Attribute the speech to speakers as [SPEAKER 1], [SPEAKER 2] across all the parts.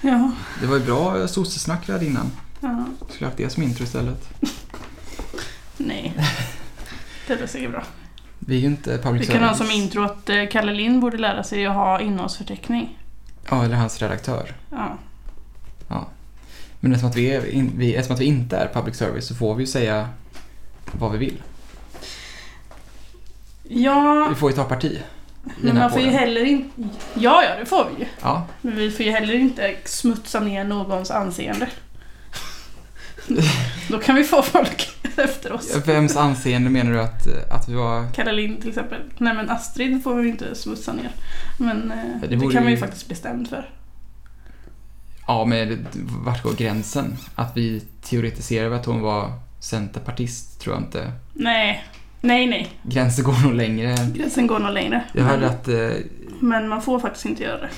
[SPEAKER 1] Ja.
[SPEAKER 2] Det var ju bra sossesnack vi hade innan.
[SPEAKER 1] ja.
[SPEAKER 2] Skulle haft det som intro istället.
[SPEAKER 1] Nej. Det blir säkert bra.
[SPEAKER 2] Vi är ju inte public
[SPEAKER 1] Vi kan ha som intro att eh, Kalle Lind borde lära sig att ha innehållsförteckning.
[SPEAKER 2] Ja, eller hans redaktör.
[SPEAKER 1] Ja.
[SPEAKER 2] Men eftersom att vi, är in, vi, eftersom att vi inte är public service så får vi ju säga vad vi vill.
[SPEAKER 1] Ja,
[SPEAKER 2] Vi får ju ta parti. i den
[SPEAKER 1] men
[SPEAKER 2] här
[SPEAKER 1] man får ju
[SPEAKER 2] podden.
[SPEAKER 1] heller inte... Ja, ja, det får vi ju.
[SPEAKER 2] Ja,
[SPEAKER 1] Men vi får ju heller inte smutsa ner någons anseende. Då kan vi få folk efter oss.
[SPEAKER 2] vems anseende menar du att, att vi var...
[SPEAKER 1] Kalle Lind till exempel. Nej men Astrid får vi ju inte smutsa ner. Men eh,
[SPEAKER 2] Det
[SPEAKER 1] det,
[SPEAKER 2] vore
[SPEAKER 1] kan man ju
[SPEAKER 2] ju-
[SPEAKER 1] faktiskt bestämt för.
[SPEAKER 2] Ja, men vart går gränsen? Att vi teoretiserar att hon var centerpartist tror jag inte.
[SPEAKER 1] Nej, nej, nej.
[SPEAKER 2] Gränsen går nog längre.
[SPEAKER 1] Gränsen går nog längre.
[SPEAKER 2] Jag hörde
[SPEAKER 1] men,
[SPEAKER 2] att eh,
[SPEAKER 1] men man får faktiskt inte göra det.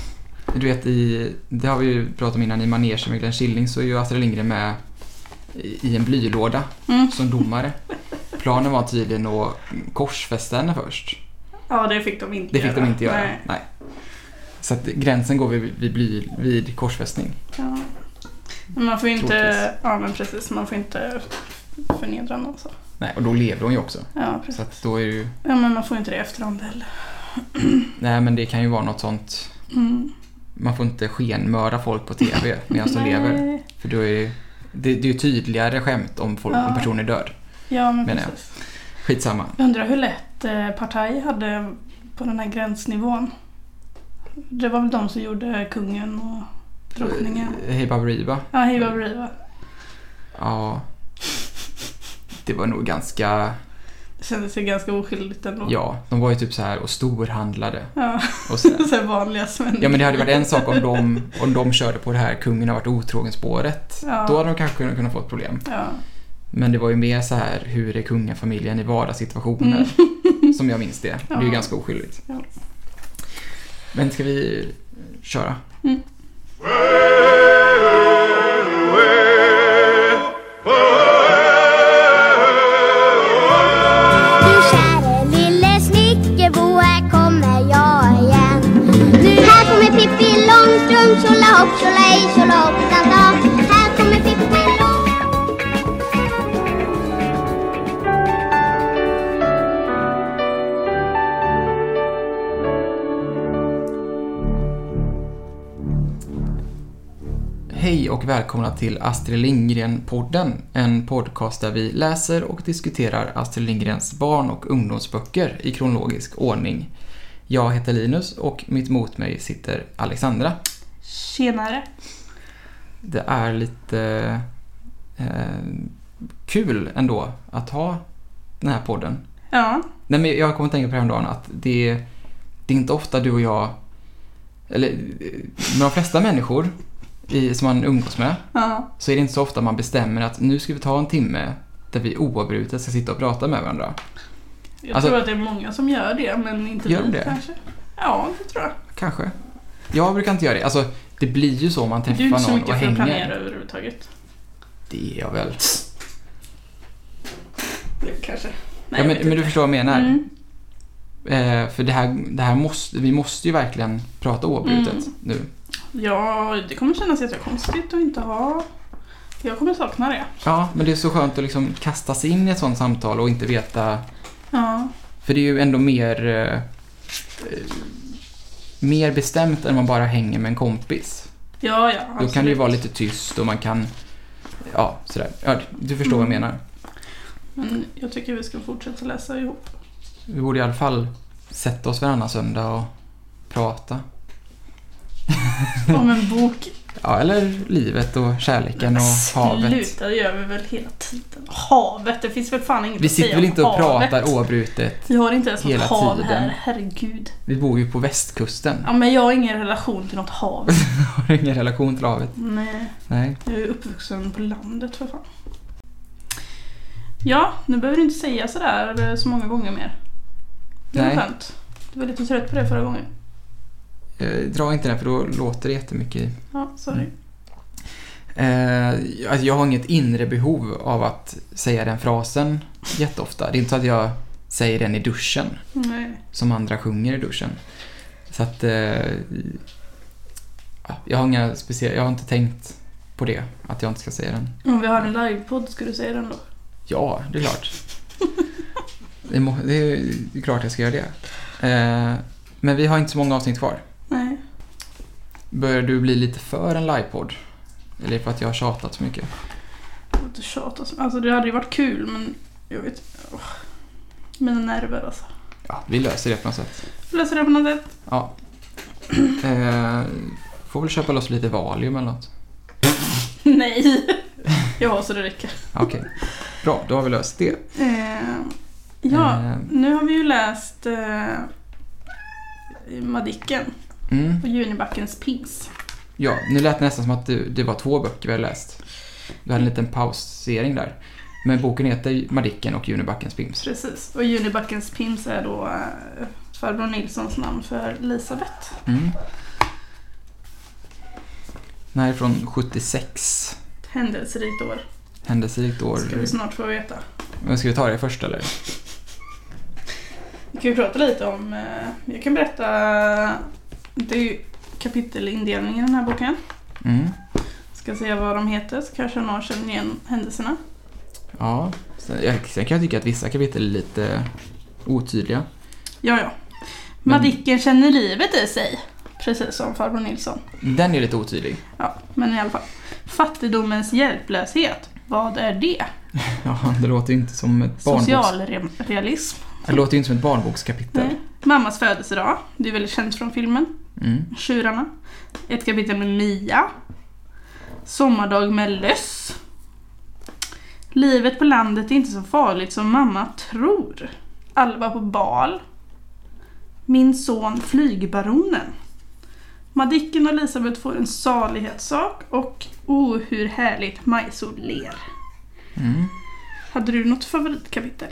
[SPEAKER 2] Du vet, i, det har vi ju pratat om innan, i manegen med Glenn Killing så är ju Astrid Lindgren med i i en blylåda
[SPEAKER 1] Mm.
[SPEAKER 2] som domare. Planen var tydligen att korsfästa henne först.
[SPEAKER 1] Ja, det fick de inte
[SPEAKER 2] Det fick
[SPEAKER 1] göra.
[SPEAKER 2] de inte göra.
[SPEAKER 1] Nej.
[SPEAKER 2] Nej. Så att gränsen går vid, vid, bly, vid korsfästning.
[SPEAKER 1] Ja. Men man får ju inte,
[SPEAKER 2] Tråkigt.
[SPEAKER 1] ja men precis, man får inte förnedra någon så.
[SPEAKER 2] Nej, och då levde hon ju också.
[SPEAKER 1] Ja,
[SPEAKER 2] Så
[SPEAKER 1] precis.
[SPEAKER 2] att då är det ju...
[SPEAKER 1] Ja, men man får ju inte det i efterhand heller.
[SPEAKER 2] Nej, men det kan ju vara något sånt...
[SPEAKER 1] Mm.
[SPEAKER 2] Man får inte skenmörda folk på TV medan de
[SPEAKER 1] Nej.
[SPEAKER 2] lever. För då är det, det, det är ju tydligare skämt om, folk,
[SPEAKER 1] Ja.
[SPEAKER 2] om personen är död.
[SPEAKER 1] Ja, men
[SPEAKER 2] Menar jag.
[SPEAKER 1] precis.
[SPEAKER 2] Skitsamma.
[SPEAKER 1] Undrar hur lätt eh, Partaj hade på den här gränsnivån. Det var väl de som gjorde kungen och drottningen.
[SPEAKER 2] Eh, Hej Baberiba.
[SPEAKER 1] Ja, Hej Baberiba.
[SPEAKER 2] Ja. Det var nog ganska...
[SPEAKER 1] Det kändes ju ganska oskyldigt ändå.
[SPEAKER 2] Ja, de var ju typ så här och storhandlade
[SPEAKER 1] Ja,
[SPEAKER 2] och så där.
[SPEAKER 1] så här vanliga svenskar.
[SPEAKER 2] Ja men det hade varit en sak om de, om de körde på det här kungen har varit otrogen spåret.
[SPEAKER 1] Ja.
[SPEAKER 2] Då hade de kanske kunnat, kunnat få ett problem.
[SPEAKER 1] Ja.
[SPEAKER 2] Men det var ju mer så här hur är kungafamiljen i vardagssituationer. Som jag minns det. Det är ju
[SPEAKER 1] Ja.
[SPEAKER 2] ganska oskyldigt.
[SPEAKER 1] Ja.
[SPEAKER 2] Men ska vi köra?
[SPEAKER 3] Du käre lille snickerbo, här kommer jag igen. Nu här kommer Pippi Långstrump, tjolahopp, tjolahej, tjolahoppsan dag. Här kommer Pippi Långstrump
[SPEAKER 2] Hej och välkomna till Astrid Lindgren-podden. En podcast där vi läser och diskuterar Astrid Lindgrens barn och ungdomsböcker i kronologisk ordning. Jag heter Linus och mitt emot mig sitter Alexandra.
[SPEAKER 1] Tjenare.
[SPEAKER 2] Det är lite eh, kul ändå att ha den här podden.
[SPEAKER 1] Ja.
[SPEAKER 2] Nej, men jag kommer att tänka på det häromdagen att det, det är inte ofta du och jag, eller eh, med de flesta människor i, som man umgås med,
[SPEAKER 1] ja.
[SPEAKER 2] så är det inte så ofta man bestämmer att nu ska vi ta en timme där vi oavbrutet ska sitta och prata med varandra.
[SPEAKER 1] Jag
[SPEAKER 2] Alltså-
[SPEAKER 1] tror att det är många som gör det, men inte
[SPEAKER 2] Gör
[SPEAKER 1] vi
[SPEAKER 2] det?
[SPEAKER 1] kanske. Ja, det tror jag.
[SPEAKER 2] Kanske. Jag brukar inte göra det. Alltså, det blir ju så om man
[SPEAKER 1] Du är inte
[SPEAKER 2] träffar
[SPEAKER 1] så
[SPEAKER 2] någon och
[SPEAKER 1] mycket för att planera
[SPEAKER 2] hänger.
[SPEAKER 1] överhuvudtaget.
[SPEAKER 2] Det är jag väl.
[SPEAKER 1] Det kanske. Nej,
[SPEAKER 2] Ja,
[SPEAKER 1] jag vet
[SPEAKER 2] men, men du
[SPEAKER 1] inte.
[SPEAKER 2] förstår vad jag menar.
[SPEAKER 1] Mm.
[SPEAKER 2] Eh, för det här, det här måste, vi måste ju verkligen prata oavbrutet
[SPEAKER 1] Mm.
[SPEAKER 2] nu.
[SPEAKER 1] Ja, det kommer kännas jättekonstigt att inte ha... Jag kommer sakna det.
[SPEAKER 2] Ja, men det är så skönt att liksom kasta sig in i ett sånt samtal och inte veta.
[SPEAKER 1] Ja.
[SPEAKER 2] För det är ju ändå mer, eh, eh, mer bestämt än man bara hänger med en kompis.
[SPEAKER 1] Ja, ja.
[SPEAKER 2] Då kan det ju
[SPEAKER 1] absolut.
[SPEAKER 2] vara lite tyst och man kan... Ja, sådär. Ja, du förstår vad
[SPEAKER 1] Mm.
[SPEAKER 2] jag menar.
[SPEAKER 1] Men jag tycker vi ska fortsätta läsa ihop.
[SPEAKER 2] Vi borde i alla fall sätta oss varannan söndag och prata.
[SPEAKER 1] Om en bok.
[SPEAKER 2] Ja, eller livet och kärleken och havet.
[SPEAKER 1] Sluta, det gör vi väl hela tiden. Havet, det finns väl fan inget
[SPEAKER 2] Vi
[SPEAKER 1] att
[SPEAKER 2] sitter
[SPEAKER 1] säga
[SPEAKER 2] väl
[SPEAKER 1] om
[SPEAKER 2] inte och
[SPEAKER 1] havet.
[SPEAKER 2] pratar oavbrutet.
[SPEAKER 1] Vi har inte ens något
[SPEAKER 2] hela
[SPEAKER 1] hav
[SPEAKER 2] tiden.
[SPEAKER 1] här, herregud.
[SPEAKER 2] Vi bor ju på västkusten.
[SPEAKER 1] Ja, men jag har ingen relation till något hav.
[SPEAKER 2] Har ingen relation till havet.
[SPEAKER 1] Nej,
[SPEAKER 2] Nej.
[SPEAKER 1] jag är ju uppvuxen på landet för fan. Ja, nu behöver du inte säga sådär eh, så många gånger mer. Det var
[SPEAKER 2] Nej.
[SPEAKER 1] skönt. Du var lite trött på det förra gången.
[SPEAKER 2] Eh, dra inte den för då låter det jättemycket. i.
[SPEAKER 1] Ja, sorry.
[SPEAKER 2] Eh, alltså jag har inget inre behov av att säga den frasen jätteofta. Det är inte så att jag säger den i duschen.
[SPEAKER 1] Nej.
[SPEAKER 2] som andra sjunger i duschen. Så att... Eh, Jag har, inga speciella, jag har inte tänkt på det, att jag inte ska säga den.
[SPEAKER 1] Om vi har en livepodd, ska du säga den då?
[SPEAKER 2] Ja, det är klart. det, må, det är det är klart jag ska göra det. Eh, men vi har inte så många avsnitt kvar.
[SPEAKER 1] Nej.
[SPEAKER 2] Börjar du bli lite för en livepodd? Eller är det för att jag har tjatat så mycket?
[SPEAKER 1] Jag har inte tjatat så- Alltså det hade ju varit kul men jag vet åh. Mina nerver alltså.
[SPEAKER 2] Ja, vi löser det på något sätt.
[SPEAKER 1] Löser det på något sätt.
[SPEAKER 2] Ja. Eh, får väl köpa loss lite Valium eller något.
[SPEAKER 1] Nej! Ja, så det räcker.
[SPEAKER 2] Ja, Okej, bra. Då har vi löst det.
[SPEAKER 1] Eh, ja,
[SPEAKER 2] Eh,
[SPEAKER 1] nu har vi ju läst eh, Madicken
[SPEAKER 2] Mm.
[SPEAKER 1] och Junibackens pins.
[SPEAKER 2] Ja, nu lät det nästan som att det, det var två böcker vi hade läst. Du hade en liten pausering där. Men boken heter Madicken och Junibackens Bims.
[SPEAKER 1] Precis. Och Junibackens pins är då eh, farbror Nilssons namn för Elisabeth.
[SPEAKER 2] Mm. Den här är från 76.
[SPEAKER 1] Ett händelserikt år.
[SPEAKER 2] Händelserikt år.
[SPEAKER 1] Ska vi snart få veta.
[SPEAKER 2] Men ska vi ta det först eller?
[SPEAKER 1] Vi kan ju prata lite om, eh, jag kan berätta, det är ju kapitelindelningen i den här boken.
[SPEAKER 2] Mm.
[SPEAKER 1] Ska se vad de heter så kanske någon känner igen händelserna.
[SPEAKER 2] Ja. Sen, jag, sen kan jag tycka att vissa kapitel är lite otydliga.
[SPEAKER 1] Ja, ja.
[SPEAKER 2] Men-
[SPEAKER 1] Madicken känner livet i sig. Precis som farbror Nilsson.
[SPEAKER 2] Den är lite otydlig.
[SPEAKER 1] Ja, men i alla fall. Fattigdomens hjälplöshet. Vad är det?
[SPEAKER 2] Ja, det låter ju inte som ett, barnboks...
[SPEAKER 1] Socialrealism.
[SPEAKER 2] det låter ju inte som ett barnbokskapitel.
[SPEAKER 1] Nej. Mammas födelsedag. Det är väldigt känt från filmen.
[SPEAKER 2] Mm.
[SPEAKER 1] Tjurarna. Ett kapitel med Mia. Sommardag med löss. Livet på landet är inte så farligt som mamma tror. Alva på bal. Min son flygbaronen. Madicken och Elisabeth får en salighetssak och oh hur härligt Majsor ler.
[SPEAKER 2] Mm.
[SPEAKER 1] Hade du något favoritkapitel?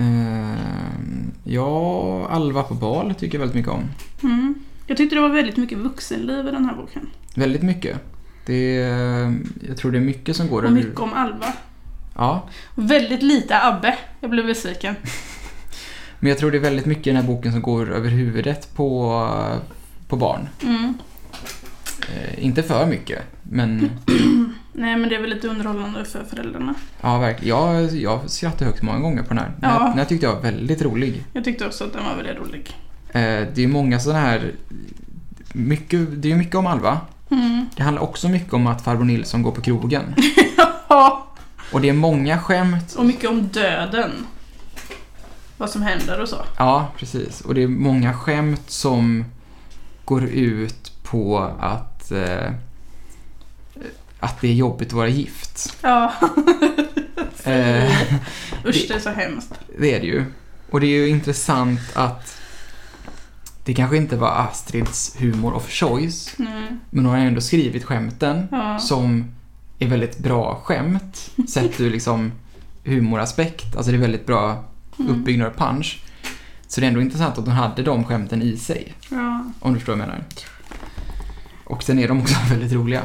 [SPEAKER 2] Ehm, ja, Alva på bal tycker jag väldigt mycket om.
[SPEAKER 1] Mm. Jag tyckte det var väldigt mycket vuxenliv i den här boken.
[SPEAKER 2] Väldigt mycket. Det är, jag tror det är mycket som går
[SPEAKER 1] Och
[SPEAKER 2] över...
[SPEAKER 1] mycket om Alva.
[SPEAKER 2] Ja,
[SPEAKER 1] Väldigt lite Abbe. Jag blev besviken.
[SPEAKER 2] men jag tror det är väldigt mycket i den här boken som går över huvudet på, på barn.
[SPEAKER 1] Mm.
[SPEAKER 2] Eh, inte för mycket, men
[SPEAKER 1] Nej men det är väl lite underhållande för föräldrarna.
[SPEAKER 2] ja, verkligen. Jag, jag skrattade högt många gånger på den här. Den här,
[SPEAKER 1] Ja.
[SPEAKER 2] den här tyckte jag var väldigt rolig.
[SPEAKER 1] Jag tyckte också att den var väldigt rolig.
[SPEAKER 2] Eh, det är många sådana här... Mycket, det är ju mycket om Alva.
[SPEAKER 1] Mm.
[SPEAKER 2] Det handlar också mycket om att farbror Nilsson går på krogen.
[SPEAKER 1] Ja,
[SPEAKER 2] Och det är många skämt.
[SPEAKER 1] och mycket om döden. Vad som händer och så.
[SPEAKER 2] Ja, precis. Och det är många skämt som går ut på att, eh, att det är jobbigt att vara gift.
[SPEAKER 1] Ja,
[SPEAKER 2] Eh,
[SPEAKER 1] usch det är så hemskt.
[SPEAKER 2] det är det ju. Och det är ju intressant att det kanske inte var Astrids humor of choice,
[SPEAKER 1] Nej.
[SPEAKER 2] men hon har ändå skrivit skämten
[SPEAKER 1] Mm. Ja.
[SPEAKER 2] som är väldigt bra skämt, sett ur liksom humoraspekt. Alltså det är väldigt bra
[SPEAKER 1] Mm.
[SPEAKER 2] uppbyggnad och punch. Så det är ändå intressant att hon hade de skämten i sig.
[SPEAKER 1] Ja.
[SPEAKER 2] Om du förstår vad jag menar. Och sen är de också väldigt roliga.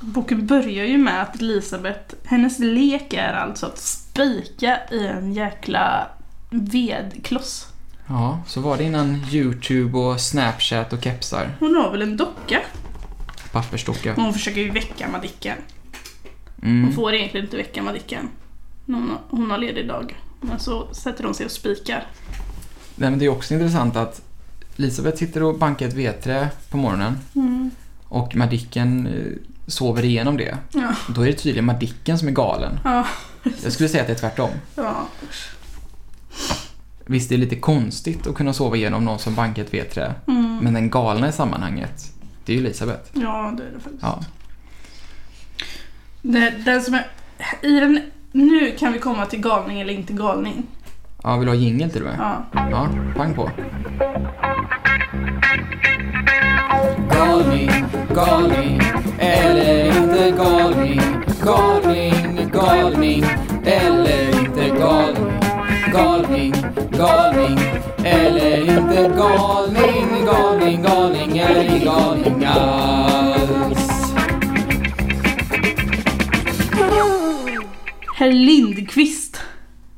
[SPEAKER 1] Boken börjar ju med att Elisabeth, hennes lek är alltså att spika i en jäkla vedkloss.
[SPEAKER 2] Ja, så var det innan YouTube och Snapchat och kepsar.
[SPEAKER 1] Hon har väl en docka?
[SPEAKER 2] Pappersdocka.
[SPEAKER 1] Hon försöker ju väcka Madicken. Hon
[SPEAKER 2] Mm.
[SPEAKER 1] får egentligen inte väcka Madicken. när Hon har, hon har ledig dag. Men så sätter hon sig och spikar.
[SPEAKER 2] Nej, men det är också intressant att Elisabeth sitter och bankar ett vedträ på morgonen och Madicken eh, sover igenom det.
[SPEAKER 1] Ja.
[SPEAKER 2] Då är det tydligen Madicken som är galen.
[SPEAKER 1] Ja.
[SPEAKER 2] Jag skulle säga att det är tvärtom.
[SPEAKER 1] ja.
[SPEAKER 2] Visst, det är lite konstigt att kunna sova igenom någon som bankar ett vedträ,
[SPEAKER 1] Mm.
[SPEAKER 2] men den galna i sammanhanget, det är ju Elisabeth.
[SPEAKER 1] Ja, det är det faktiskt.
[SPEAKER 2] Ja.
[SPEAKER 1] Det, den som är, i den, nu kan vi komma till galning eller inte galning.
[SPEAKER 2] ja, vill du ha jingel till och med?
[SPEAKER 1] Ja.
[SPEAKER 2] Ja, pang på. Galning, galning, eller inte galning. Galning, galning, eller inte galning. Galning, galning, eller inte galning. Galning, galning, eller inte galning alls.
[SPEAKER 1] Herr Lindqvist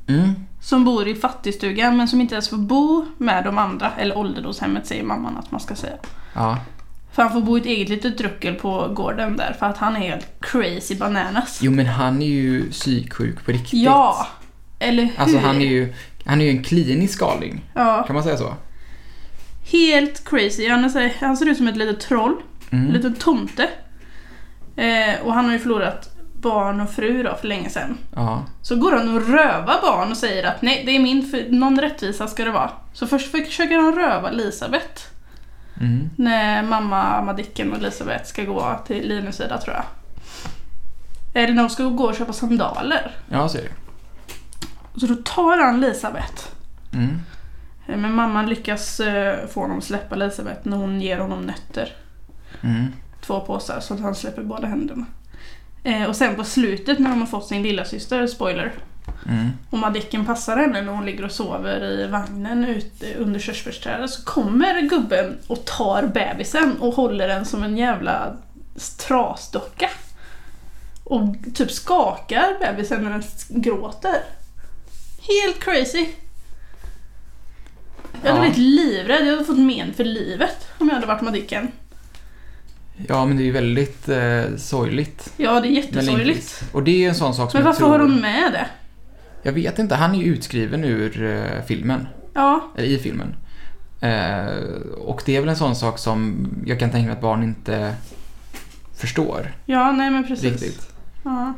[SPEAKER 2] Mm,
[SPEAKER 1] som bor i fattigstugan men som inte ens får bo med de andra. Eller ålderdomshemmet säger mamman att man ska säga.
[SPEAKER 2] ja.
[SPEAKER 1] För han får bo i ett eget litet druckel på gården där för att han är helt crazy bananas.
[SPEAKER 2] Jo men han är ju psyksjuk på riktigt.
[SPEAKER 1] Ja! Eller hur?
[SPEAKER 2] Alltså han är ju, han är ju en klinisk galning.
[SPEAKER 1] Ja,
[SPEAKER 2] Kan man säga så?
[SPEAKER 1] helt crazy. Han, är så här, han ser ut som ett litet troll.
[SPEAKER 2] Mm.
[SPEAKER 1] En liten tomte. Eh, och han har ju förlorat barn och fru då för länge sedan.
[SPEAKER 2] Ja.
[SPEAKER 1] Så går han och rövar barn och säger att nej, det är min, för någon rättvisa ska det vara. Så först försöker han röva Elisabeth.
[SPEAKER 2] Mm.
[SPEAKER 1] När mamma Madicken och Elisabeth ska gå till Linus sida tror jag. Eller när de ska gå och köpa sandaler.
[SPEAKER 2] Ja, så är det.
[SPEAKER 1] Så då tar han Elisabeth.
[SPEAKER 2] Mm.
[SPEAKER 1] Eh, Men mamman lyckas eh, få honom att släppa Elisabeth när hon ger honom nötter.
[SPEAKER 2] Mm.
[SPEAKER 1] Två påsar så att han släpper båda händerna. Eh, och sen på slutet när de har fått sin lilla syster, spoiler,
[SPEAKER 2] Mm.
[SPEAKER 1] och Madicken passar henne när hon ligger och sover i vagnen ute under körsbärsträdet så kommer gubben och tar bebisen och håller den som en jävla trasdocka. Och typ skakar bebisen när den s- gråter. Helt crazy! Jag hade
[SPEAKER 2] Ja.
[SPEAKER 1] blivit livrädd, jag hade fått men för livet om jag hade varit Madicken.
[SPEAKER 2] Ja, men det är ju väldigt eh, sorgligt.
[SPEAKER 1] Ja, det är
[SPEAKER 2] Men
[SPEAKER 1] jättesorgligt.
[SPEAKER 2] Lindqvist. Och det är ju en sån sak som
[SPEAKER 1] Men
[SPEAKER 2] jag
[SPEAKER 1] varför
[SPEAKER 2] tror...
[SPEAKER 1] har hon med det?
[SPEAKER 2] Jag vet inte, han är ju utskriven ur eh, filmen.
[SPEAKER 1] Ja,
[SPEAKER 2] Eller i filmen. Eh, och det är väl en sån sak som jag kan tänka mig att barn inte förstår
[SPEAKER 1] ja, nej men precis.
[SPEAKER 2] riktigt.
[SPEAKER 1] Ja.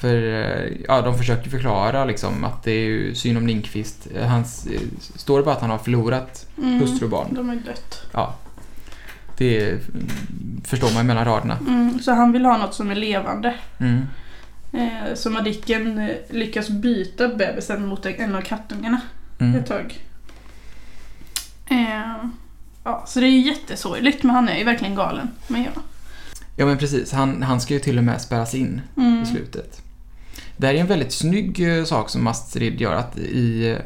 [SPEAKER 2] För eh, ja, de försöker förklara liksom att det är ju synd om Lindqvist. Eh, Hans, eh, står det bara att han har förlorat
[SPEAKER 1] Mm.
[SPEAKER 2] hustru och barn?
[SPEAKER 1] De är dött.
[SPEAKER 2] Ja. Det eh, förstår man ju mellan raderna.
[SPEAKER 1] Mm, så han vill ha något som är levande.
[SPEAKER 2] Mm.
[SPEAKER 1] Eh, så Madicken eh, lyckas byta bebisen mot en av kattungarna
[SPEAKER 2] Mm.
[SPEAKER 1] ett tag. Eh, ja, så det är ju jättesorgligt men han är ju verkligen galen. Men ja.
[SPEAKER 2] Ja men precis, han, han ska ju till och med spärras in
[SPEAKER 1] Mm.
[SPEAKER 2] i slutet. Det här är en väldigt snygg eh, sak som Astrid gör att i eh,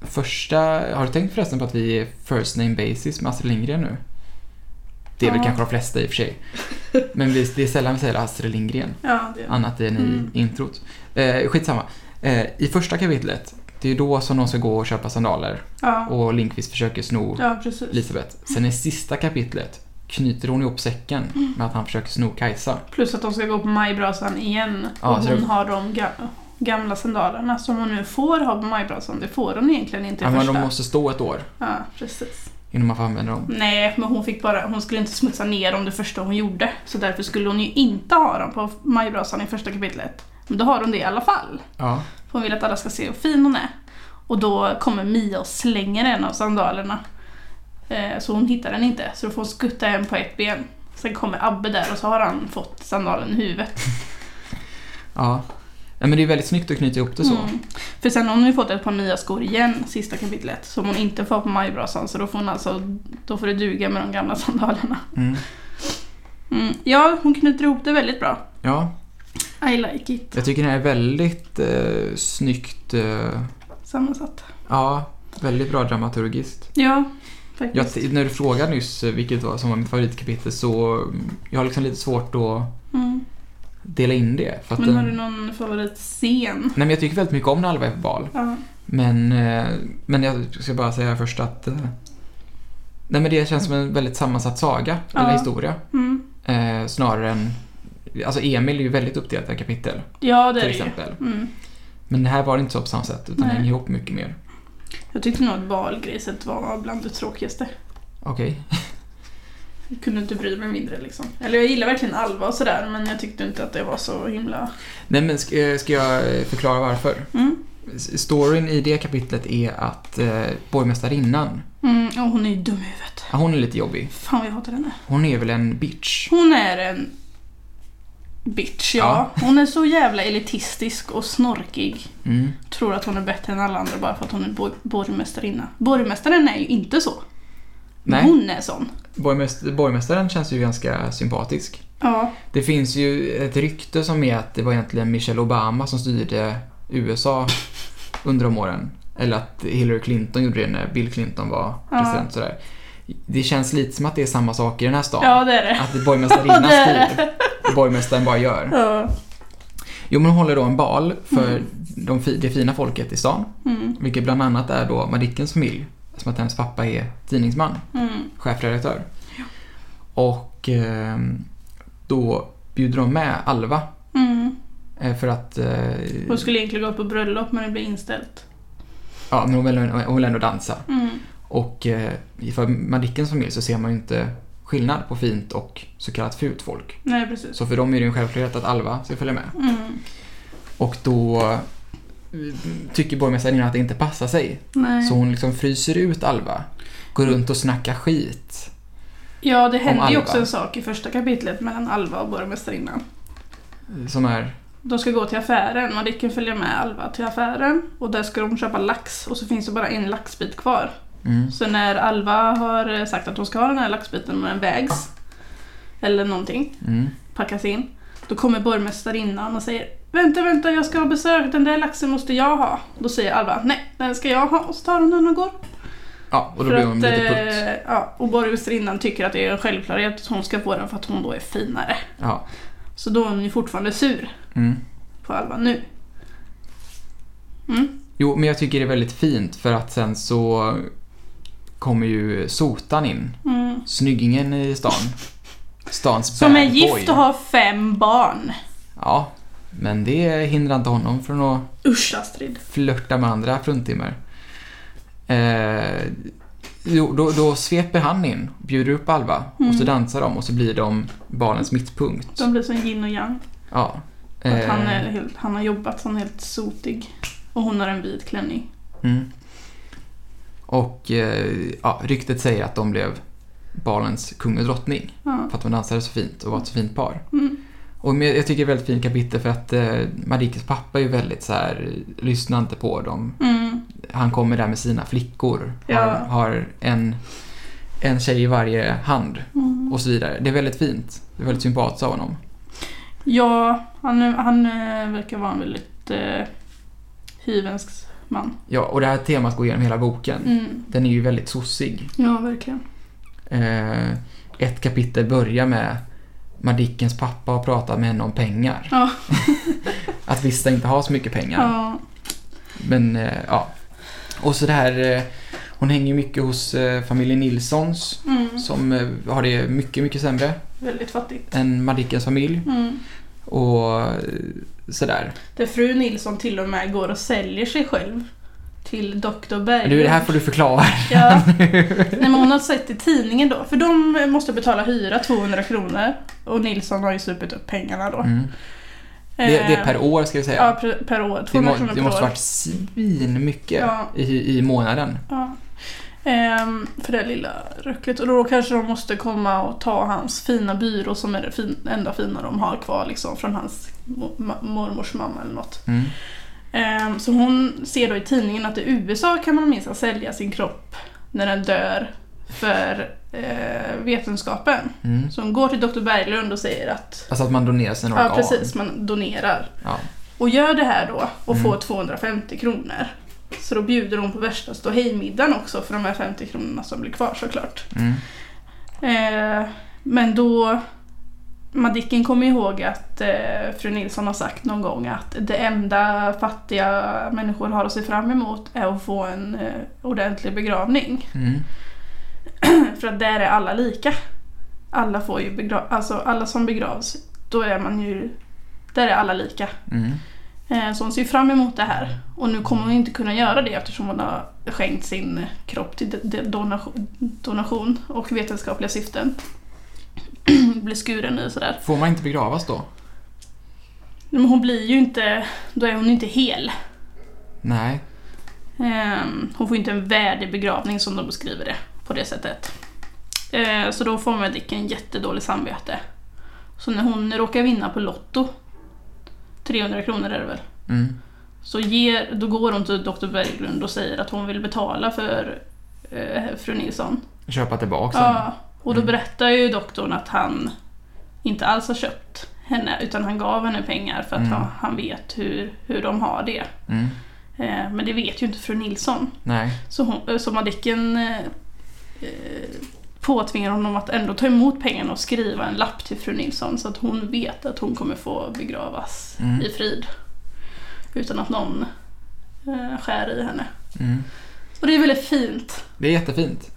[SPEAKER 2] första... Har du tänkt förresten på att vi är first name basis med Astrid Lindgren nu? Det är väl
[SPEAKER 1] Ja.
[SPEAKER 2] kanske de flesta i och för sig. Men vi, det är sällan vi säger Astrid Lindgren,
[SPEAKER 1] Ja, det är
[SPEAKER 2] annat än i
[SPEAKER 1] Mm.
[SPEAKER 2] introt. Eh, skitsamma. Eh, I första kapitlet, det är ju då som de ska gå och köpa sandaler
[SPEAKER 1] ja,
[SPEAKER 2] och Lindqvist försöker sno
[SPEAKER 1] ja, precis.
[SPEAKER 2] Elisabeth. Sen i sista kapitlet knyter hon ihop
[SPEAKER 1] Mm.
[SPEAKER 2] säcken med att han försöker sno Kajsa.
[SPEAKER 1] Plus att de ska gå på majbrasan igen
[SPEAKER 2] Ja,
[SPEAKER 1] och
[SPEAKER 2] så
[SPEAKER 1] hon
[SPEAKER 2] det-
[SPEAKER 1] har de ga- gamla sandalerna som hon nu får ha på majbrasan. Det får hon egentligen inte i
[SPEAKER 2] Ja, men
[SPEAKER 1] första. Mm.
[SPEAKER 2] de måste stå ett år
[SPEAKER 1] Ja, precis.
[SPEAKER 2] innan man får använda dem.
[SPEAKER 1] Nej, men hon fick bara, hon skulle inte smutsa ner om det första hon gjorde. Så därför skulle hon ju inte ha dem på majbrasan i första kapitlet. Men då har hon det i alla fall.
[SPEAKER 2] Ja.
[SPEAKER 1] För hon vill att alla ska se hur fin hon är. Och då kommer Mia och slänger en av sandalerna. Eh, så hon hittar den inte, så då får hon skutta en på ett ben. Sen kommer Abbe där och så har han fått sandalen i huvudet.
[SPEAKER 2] ja. Nej, men det är väldigt snyggt att knyta ihop det så.
[SPEAKER 1] Mm. För sen har hon ju fått ett par Mia-skor igen, sista kapitlet, som hon inte får på majbrasan. Så då får hon alltså, då får det duga med de gamla sandalerna.
[SPEAKER 2] Mm.
[SPEAKER 1] Mm. Ja, hon knyter ihop det väldigt bra.
[SPEAKER 2] Ja,
[SPEAKER 1] I like it.
[SPEAKER 2] jag tycker det här är väldigt eh, snyggt. Eh,
[SPEAKER 1] Sammansatt.
[SPEAKER 2] ja, väldigt bra dramaturgiskt.
[SPEAKER 1] Ja, faktiskt.
[SPEAKER 2] Jag, t- när du frågade nyss eh, vilket var, som var mitt favoritkapitel så mm, jag har liksom lite svårt att
[SPEAKER 1] Mm.
[SPEAKER 2] dela in det. För att eh,
[SPEAKER 1] Men har
[SPEAKER 2] den-
[SPEAKER 1] du någon favoritscen?
[SPEAKER 2] Nej, men jag tycker väldigt mycket om när Alva är på bal.
[SPEAKER 1] Ja.
[SPEAKER 2] Men, eh, men jag ska bara säga först att eh, Nej men det känns som en väldigt sammansatt saga, eller
[SPEAKER 1] Ja.
[SPEAKER 2] historia.
[SPEAKER 1] Mm.
[SPEAKER 2] Eh, snarare än... Alltså Emil är ju väldigt uppdelat i kapitel,
[SPEAKER 1] ja, det är
[SPEAKER 2] till
[SPEAKER 1] det ju.
[SPEAKER 2] exempel.
[SPEAKER 1] Mm.
[SPEAKER 2] Men det här var det inte så på samma sätt, utan det
[SPEAKER 1] Nej.
[SPEAKER 2] hänger ihop mycket mer.
[SPEAKER 1] Jag tyckte nog att valgriset var bland det tråkigaste.
[SPEAKER 2] Okej.
[SPEAKER 1] Jag kunde inte bry mig mindre liksom. Eller jag gillar verkligen Alva och sådär men jag tyckte inte att det var så himla...
[SPEAKER 2] Nej men ska, eh, ska jag förklara varför?
[SPEAKER 1] Mm.
[SPEAKER 2] S- Storyn i det kapitlet är att eh, borgmästarinnan,
[SPEAKER 1] Mm. Och hon är ju dum i huvudet.
[SPEAKER 2] ja, hon är lite jobbig.
[SPEAKER 1] Fan vad jag hatar henne.
[SPEAKER 2] Hon är väl en bitch?
[SPEAKER 1] Hon är en bitch, ja. Hon är så jävla elitistisk och snorkig.
[SPEAKER 2] Mm.
[SPEAKER 1] tror att hon är bättre än alla andra bara för att hon är borg- borgmästarinna. Borgmästaren är ju inte så.
[SPEAKER 2] Nej.
[SPEAKER 1] Men Hon är sån.
[SPEAKER 2] Borgmäst- borgmästaren känns ju ganska sympatisk.
[SPEAKER 1] Ja.
[SPEAKER 2] Det finns ju ett rykte som är att det var egentligen Michelle Obama som styrde USA under de åren. Eller att Hillary Clinton gjorde det när Bill Clinton var
[SPEAKER 1] Ja.
[SPEAKER 2] president. Sådär. Det känns lite som att det är samma sak i den här staden.
[SPEAKER 1] ja, det är det.
[SPEAKER 2] Att borgmästarinnan
[SPEAKER 1] det är
[SPEAKER 2] styr. och Borgmästaren bara gör.
[SPEAKER 1] Ja.
[SPEAKER 2] Jo, men hon håller då en bal för de fi- det fina folket i stan.
[SPEAKER 1] Mm,
[SPEAKER 2] Vilket bland annat är då Madickens familj. Som att hennes pappa är tidningsman,
[SPEAKER 1] mm,
[SPEAKER 2] chefredaktör. Och eh, då bjuder de med Alva
[SPEAKER 1] Mm.
[SPEAKER 2] eh, för att... Eh,
[SPEAKER 1] Hon skulle egentligen gå på bröllop men det blev inställt.
[SPEAKER 2] ja, men hon vill, hon vill ändå dansa.
[SPEAKER 1] Mm.
[SPEAKER 2] Och eh, för Madickens familj så ser man ju inte skillnad på fint och så kallat fult folk.
[SPEAKER 1] Nej, precis.
[SPEAKER 2] Så för dem är det ju en självklarhet att Alva ska följa med.
[SPEAKER 1] Mm.
[SPEAKER 2] Och då eh, tycker borgmästarinnan att det inte passar sig.
[SPEAKER 1] Nej.
[SPEAKER 2] Så hon liksom fryser ut Alva. Går runt och snackar skit.
[SPEAKER 1] Ja, det hände ju
[SPEAKER 2] Alva.
[SPEAKER 1] också en sak i första kapitlet mellan Alva och borgmästarinnan.
[SPEAKER 2] eh, Som är...
[SPEAKER 1] De ska gå till affären, Madicken följer med Alva till affären och där ska de köpa lax och så finns det bara en laxbit kvar.
[SPEAKER 2] Mm.
[SPEAKER 1] Så när Alva har eh, sagt att hon ska ha den här laxbiten men den vägs eller någonting,
[SPEAKER 2] Mm.
[SPEAKER 1] packas in, då kommer borgmästarinnan och säger Vänta, vänta, jag ska ha besök, den där laxen måste jag ha. Då säger Alva nej, den ska jag ha och så tar hon den och går.
[SPEAKER 2] Ja, och då
[SPEAKER 1] För
[SPEAKER 2] blir hon
[SPEAKER 1] att,
[SPEAKER 2] lite putt.
[SPEAKER 1] eh, ja, och borgmästarinnan tycker att det är en självklarhet att hon ska få den för att hon då är finare.
[SPEAKER 2] Ja.
[SPEAKER 1] Så då är hon ju fortfarande sur
[SPEAKER 2] Mm.
[SPEAKER 1] på Alva nu. Mm.
[SPEAKER 2] Jo, men jag tycker det är väldigt fint för att sen så kommer ju Sotan in.
[SPEAKER 1] Mm.
[SPEAKER 2] Snyggingen i stan. Stans
[SPEAKER 1] Som
[SPEAKER 2] bad
[SPEAKER 1] är gift
[SPEAKER 2] boy.
[SPEAKER 1] och har fem barn.
[SPEAKER 2] Ja, men det hindrar inte honom från att
[SPEAKER 1] Usch Astrid.
[SPEAKER 2] flörta med andra fruntimmer. Eh, jo, då, då sveper han in, bjuder upp Alva och så dansar de och så blir de barnens mittpunkt.
[SPEAKER 1] Mm. De blir som yin och yang.
[SPEAKER 2] Ja.
[SPEAKER 1] För Att
[SPEAKER 2] eh,
[SPEAKER 1] han, är helt, han har jobbat som helt sotig. Och hon har en vit klänning.
[SPEAKER 2] mm. Och eh, ja, ryktet säger att de blev barnens kung och drottning
[SPEAKER 1] Ja.
[SPEAKER 2] för att de dansade så fint och var ett så fint par.
[SPEAKER 1] Mm.
[SPEAKER 2] Och men jag tycker det är ett väldigt fint kapitel för att eh, Marikes pappa är ju väldigt så här, lyssnar inte på dem,
[SPEAKER 1] Mm.
[SPEAKER 2] han kommer där med sina flickor. Har,
[SPEAKER 1] Ja.
[SPEAKER 2] har en, en tjej i varje hand
[SPEAKER 1] Mm.
[SPEAKER 2] och så vidare. Det är väldigt fint. Det är väldigt sympatiskt av honom.
[SPEAKER 1] Ja, han, han eh, verkar vara en väldigt eh, hyvensk man.
[SPEAKER 2] Ja, och det här temat går igenom hela boken.
[SPEAKER 1] Mm.
[SPEAKER 2] Den är ju väldigt sossig.
[SPEAKER 1] Ja, verkligen.
[SPEAKER 2] Eh, ett kapitel börjar med Madickens pappa har pratat med henne om pengar.
[SPEAKER 1] Ja.
[SPEAKER 2] Att vissa inte har så mycket pengar.
[SPEAKER 1] Ja.
[SPEAKER 2] Men eh, ja. Och så det här, eh, hon hänger ju mycket hos eh, familjen Nilssons
[SPEAKER 1] Mm.
[SPEAKER 2] som eh, har det mycket, mycket sämre
[SPEAKER 1] Väldigt fattigt.
[SPEAKER 2] än Madickens familj.
[SPEAKER 1] Mm.
[SPEAKER 2] och eh, sådär.
[SPEAKER 1] Där fru Nilsson till och med går och säljer sig själv till Dr. Berg.
[SPEAKER 2] Men du, det här får du förklara.
[SPEAKER 1] Ja. Nej, men hon har sett i tidningen då, för de måste betala hyra 200 kronor och Nilsson har ju supit upp pengarna då. Eh.
[SPEAKER 2] Mm. Det, det är per år ska vi säga.
[SPEAKER 1] Ja, per, per år.
[SPEAKER 2] det,
[SPEAKER 1] 200
[SPEAKER 2] må,
[SPEAKER 1] kronor
[SPEAKER 2] det
[SPEAKER 1] per
[SPEAKER 2] måste
[SPEAKER 1] år.
[SPEAKER 2] varit svinmycket
[SPEAKER 1] Ja.
[SPEAKER 2] i, i månaden.
[SPEAKER 1] Ja. Ehm, för det lilla röcklet. Och då kanske de måste komma och ta hans fina byrå som är det fin, enda fina de har kvar liksom från hans mo- ma- mormors mamma eller något.
[SPEAKER 2] Mm.
[SPEAKER 1] Ehm, Så hon ser då i tidningen att i USA kan man minsann sälja sin kropp när den dör för eh, vetenskapen.
[SPEAKER 2] Mm.
[SPEAKER 1] Så hon går till Dr. Berglund och säger att
[SPEAKER 2] Alltså att man donerar sina
[SPEAKER 1] ja,
[SPEAKER 2] organ.
[SPEAKER 1] precis, man donerar.
[SPEAKER 2] Ja.
[SPEAKER 1] Och gör det här då och får 250 kronor. Så då bjuder hon på värsta ståhejmiddagen också för de här 50 kronorna som blir kvar såklart.
[SPEAKER 2] Mm.
[SPEAKER 1] Eh, men då... Madicken kommer ihåg att eh, fru Nilsson har sagt någon gång att det enda fattiga människor har att se fram emot är att få en eh, ordentlig begravning.
[SPEAKER 2] Mm.
[SPEAKER 1] För att där är alla lika. Alla får ju begra- alltså alla som begravs, då är man ju... Där är alla lika.
[SPEAKER 2] Mm.
[SPEAKER 1] Eh, så hon ser fram emot det här. Och nu kommer hon inte kunna göra det eftersom hon har skänkt sin kropp till de- de- donation, donation och vetenskapliga syften. blir skuren nu sådär.
[SPEAKER 2] Får man inte begravas då?
[SPEAKER 1] Men hon blir ju inte, då är hon inte hel.
[SPEAKER 2] Nej.
[SPEAKER 1] Ehm, hon får inte en värdig begravning som de beskriver det på det sättet. Eh, så då får Madicken jättedåligt samvete. Så när hon råkar vinna på Lotto, 300 kronor är det väl,
[SPEAKER 2] Mm.
[SPEAKER 1] så ger, då går hon till Dr. Berglund och säger att hon vill betala för eh, fru Nilsson.
[SPEAKER 2] Köpa tillbaka sen. Mm.
[SPEAKER 1] Ja, och då berättar ju doktorn att han inte alls har köpt henne utan han gav henne pengar för att
[SPEAKER 2] Mm.
[SPEAKER 1] han, han vet hur, hur de har det.
[SPEAKER 2] Mm.
[SPEAKER 1] Eh, men det vet ju inte fru Nilsson.
[SPEAKER 2] Nej.
[SPEAKER 1] Så, hon, eh, så Madicken eh, eh, påtvingar honom att ändå ta emot pengarna och skriva en lapp till fru Nilsson så att hon vet att hon kommer få begravas
[SPEAKER 2] Mm.
[SPEAKER 1] i frid. Utan att någon eh, skär i henne.
[SPEAKER 2] Mm.
[SPEAKER 1] Och det är väldigt fint.
[SPEAKER 2] Det är jättefint.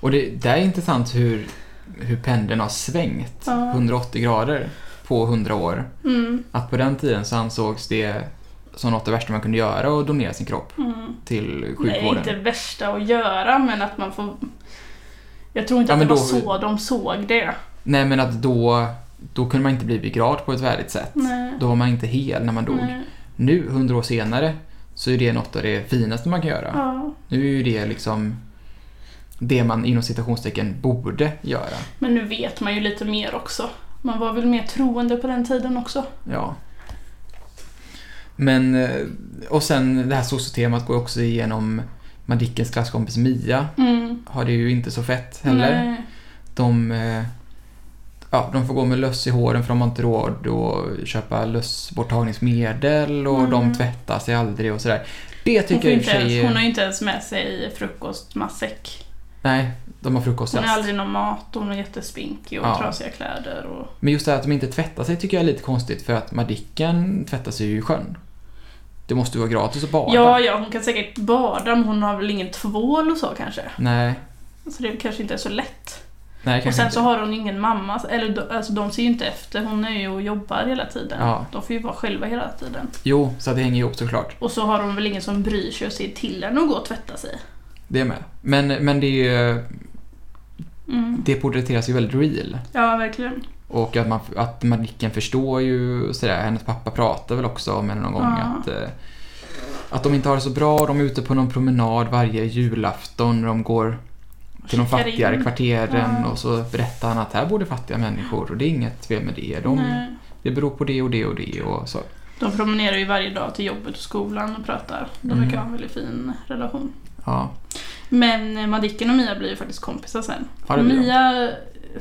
[SPEAKER 2] Och det, det är intressant hur hur pendeln har svängt
[SPEAKER 1] Ja.
[SPEAKER 2] 180 grader på 100 år.
[SPEAKER 1] Mm.
[SPEAKER 2] Att på den tiden så ansågs det som något av det värsta man kunde göra att donera sin kropp
[SPEAKER 1] Mm.
[SPEAKER 2] till
[SPEAKER 1] Nej,
[SPEAKER 2] sjukvården.
[SPEAKER 1] inte det värsta att göra, men att man får... Jag tror inte
[SPEAKER 2] Ja,
[SPEAKER 1] att det
[SPEAKER 2] men
[SPEAKER 1] var
[SPEAKER 2] då-
[SPEAKER 1] så de såg det.
[SPEAKER 2] Nej, men att då, då kunde man inte bli begravd på ett värdigt sätt.
[SPEAKER 1] Nej.
[SPEAKER 2] Då var man inte hel när man dog.
[SPEAKER 1] Nej.
[SPEAKER 2] Nu, 100 år senare, så är det något av det finaste man kan göra.
[SPEAKER 1] Ja.
[SPEAKER 2] Nu är ju det liksom det man inom citationstecken borde göra.
[SPEAKER 1] Men nu vet man ju lite mer också. Man var väl mer troende på den tiden också.
[SPEAKER 2] Ja. Men, eh, och sen det här sossetemat går också igenom Madickens klasskompis Mia.
[SPEAKER 1] Mm.
[SPEAKER 2] Har det ju inte så fett heller.
[SPEAKER 1] Nej.
[SPEAKER 2] De, eh, ja, de får gå med löss i håren för de har inte råd att köpa lössborttagningsmedel och
[SPEAKER 1] Mm.
[SPEAKER 2] de tvättar sig aldrig och sådär. Det
[SPEAKER 1] Hon, får
[SPEAKER 2] tycker jag i och
[SPEAKER 1] inte
[SPEAKER 2] för sig
[SPEAKER 1] ens, hon
[SPEAKER 2] är...
[SPEAKER 1] har ju inte ens med sig frukostmatsäck.
[SPEAKER 2] Nej, de har
[SPEAKER 1] Hon har
[SPEAKER 2] frukostrast.
[SPEAKER 1] aldrig någon mat och hon är jättespinkig och
[SPEAKER 2] Ja.
[SPEAKER 1] trasiga kläder. Och...
[SPEAKER 2] Men just det här att de inte tvättar sig tycker jag är lite konstigt för att Madicken tvättar sig ju i sjön. Det måste ju vara gratis att bada.
[SPEAKER 1] Ja, ja, hon kan säkert bada men hon har väl ingen tvål och så kanske.
[SPEAKER 2] Nej,
[SPEAKER 1] Så det kanske inte är så lätt.
[SPEAKER 2] nej kanske
[SPEAKER 1] och sen
[SPEAKER 2] inte.
[SPEAKER 1] så har hon ingen mamma, eller de- alltså de ser ju inte efter, hon är ju och jobbar hela tiden.
[SPEAKER 2] Ja.
[SPEAKER 1] De får ju vara själva hela tiden.
[SPEAKER 2] Jo, så att det hänger ihop såklart.
[SPEAKER 1] Och så har hon väl ingen som bryr sig och ser till henne att gå och tvätta sig.
[SPEAKER 2] Det är med. Men, men det, är ju,
[SPEAKER 1] Mm.
[SPEAKER 2] det porträtteras ju väldigt real.
[SPEAKER 1] Ja, verkligen.
[SPEAKER 2] Och att, man, att Madicken förstår ju sådär. Hennes pappa pratar väl också om henne någon gång
[SPEAKER 1] Ja.
[SPEAKER 2] att, eh, att de inte har det så bra. De är ute på någon promenad varje julafton. De går till de
[SPEAKER 1] Checkar
[SPEAKER 2] fattigare
[SPEAKER 1] in.
[SPEAKER 2] kvarteren
[SPEAKER 1] Ja.
[SPEAKER 2] och så berättar han att här bor det fattiga människor och det är inget fel med det. De,
[SPEAKER 1] Nej.
[SPEAKER 2] Det beror på det och det och det och så.
[SPEAKER 1] De promenerar ju varje dag till jobbet och skolan och pratar. De
[SPEAKER 2] Mm.
[SPEAKER 1] verkar ha en väldigt fin relation.
[SPEAKER 2] Ja,
[SPEAKER 1] Men eh, Madicken och Mia blir ju faktiskt kompisar sen.
[SPEAKER 2] Ja, det blir de.
[SPEAKER 1] Mia eh,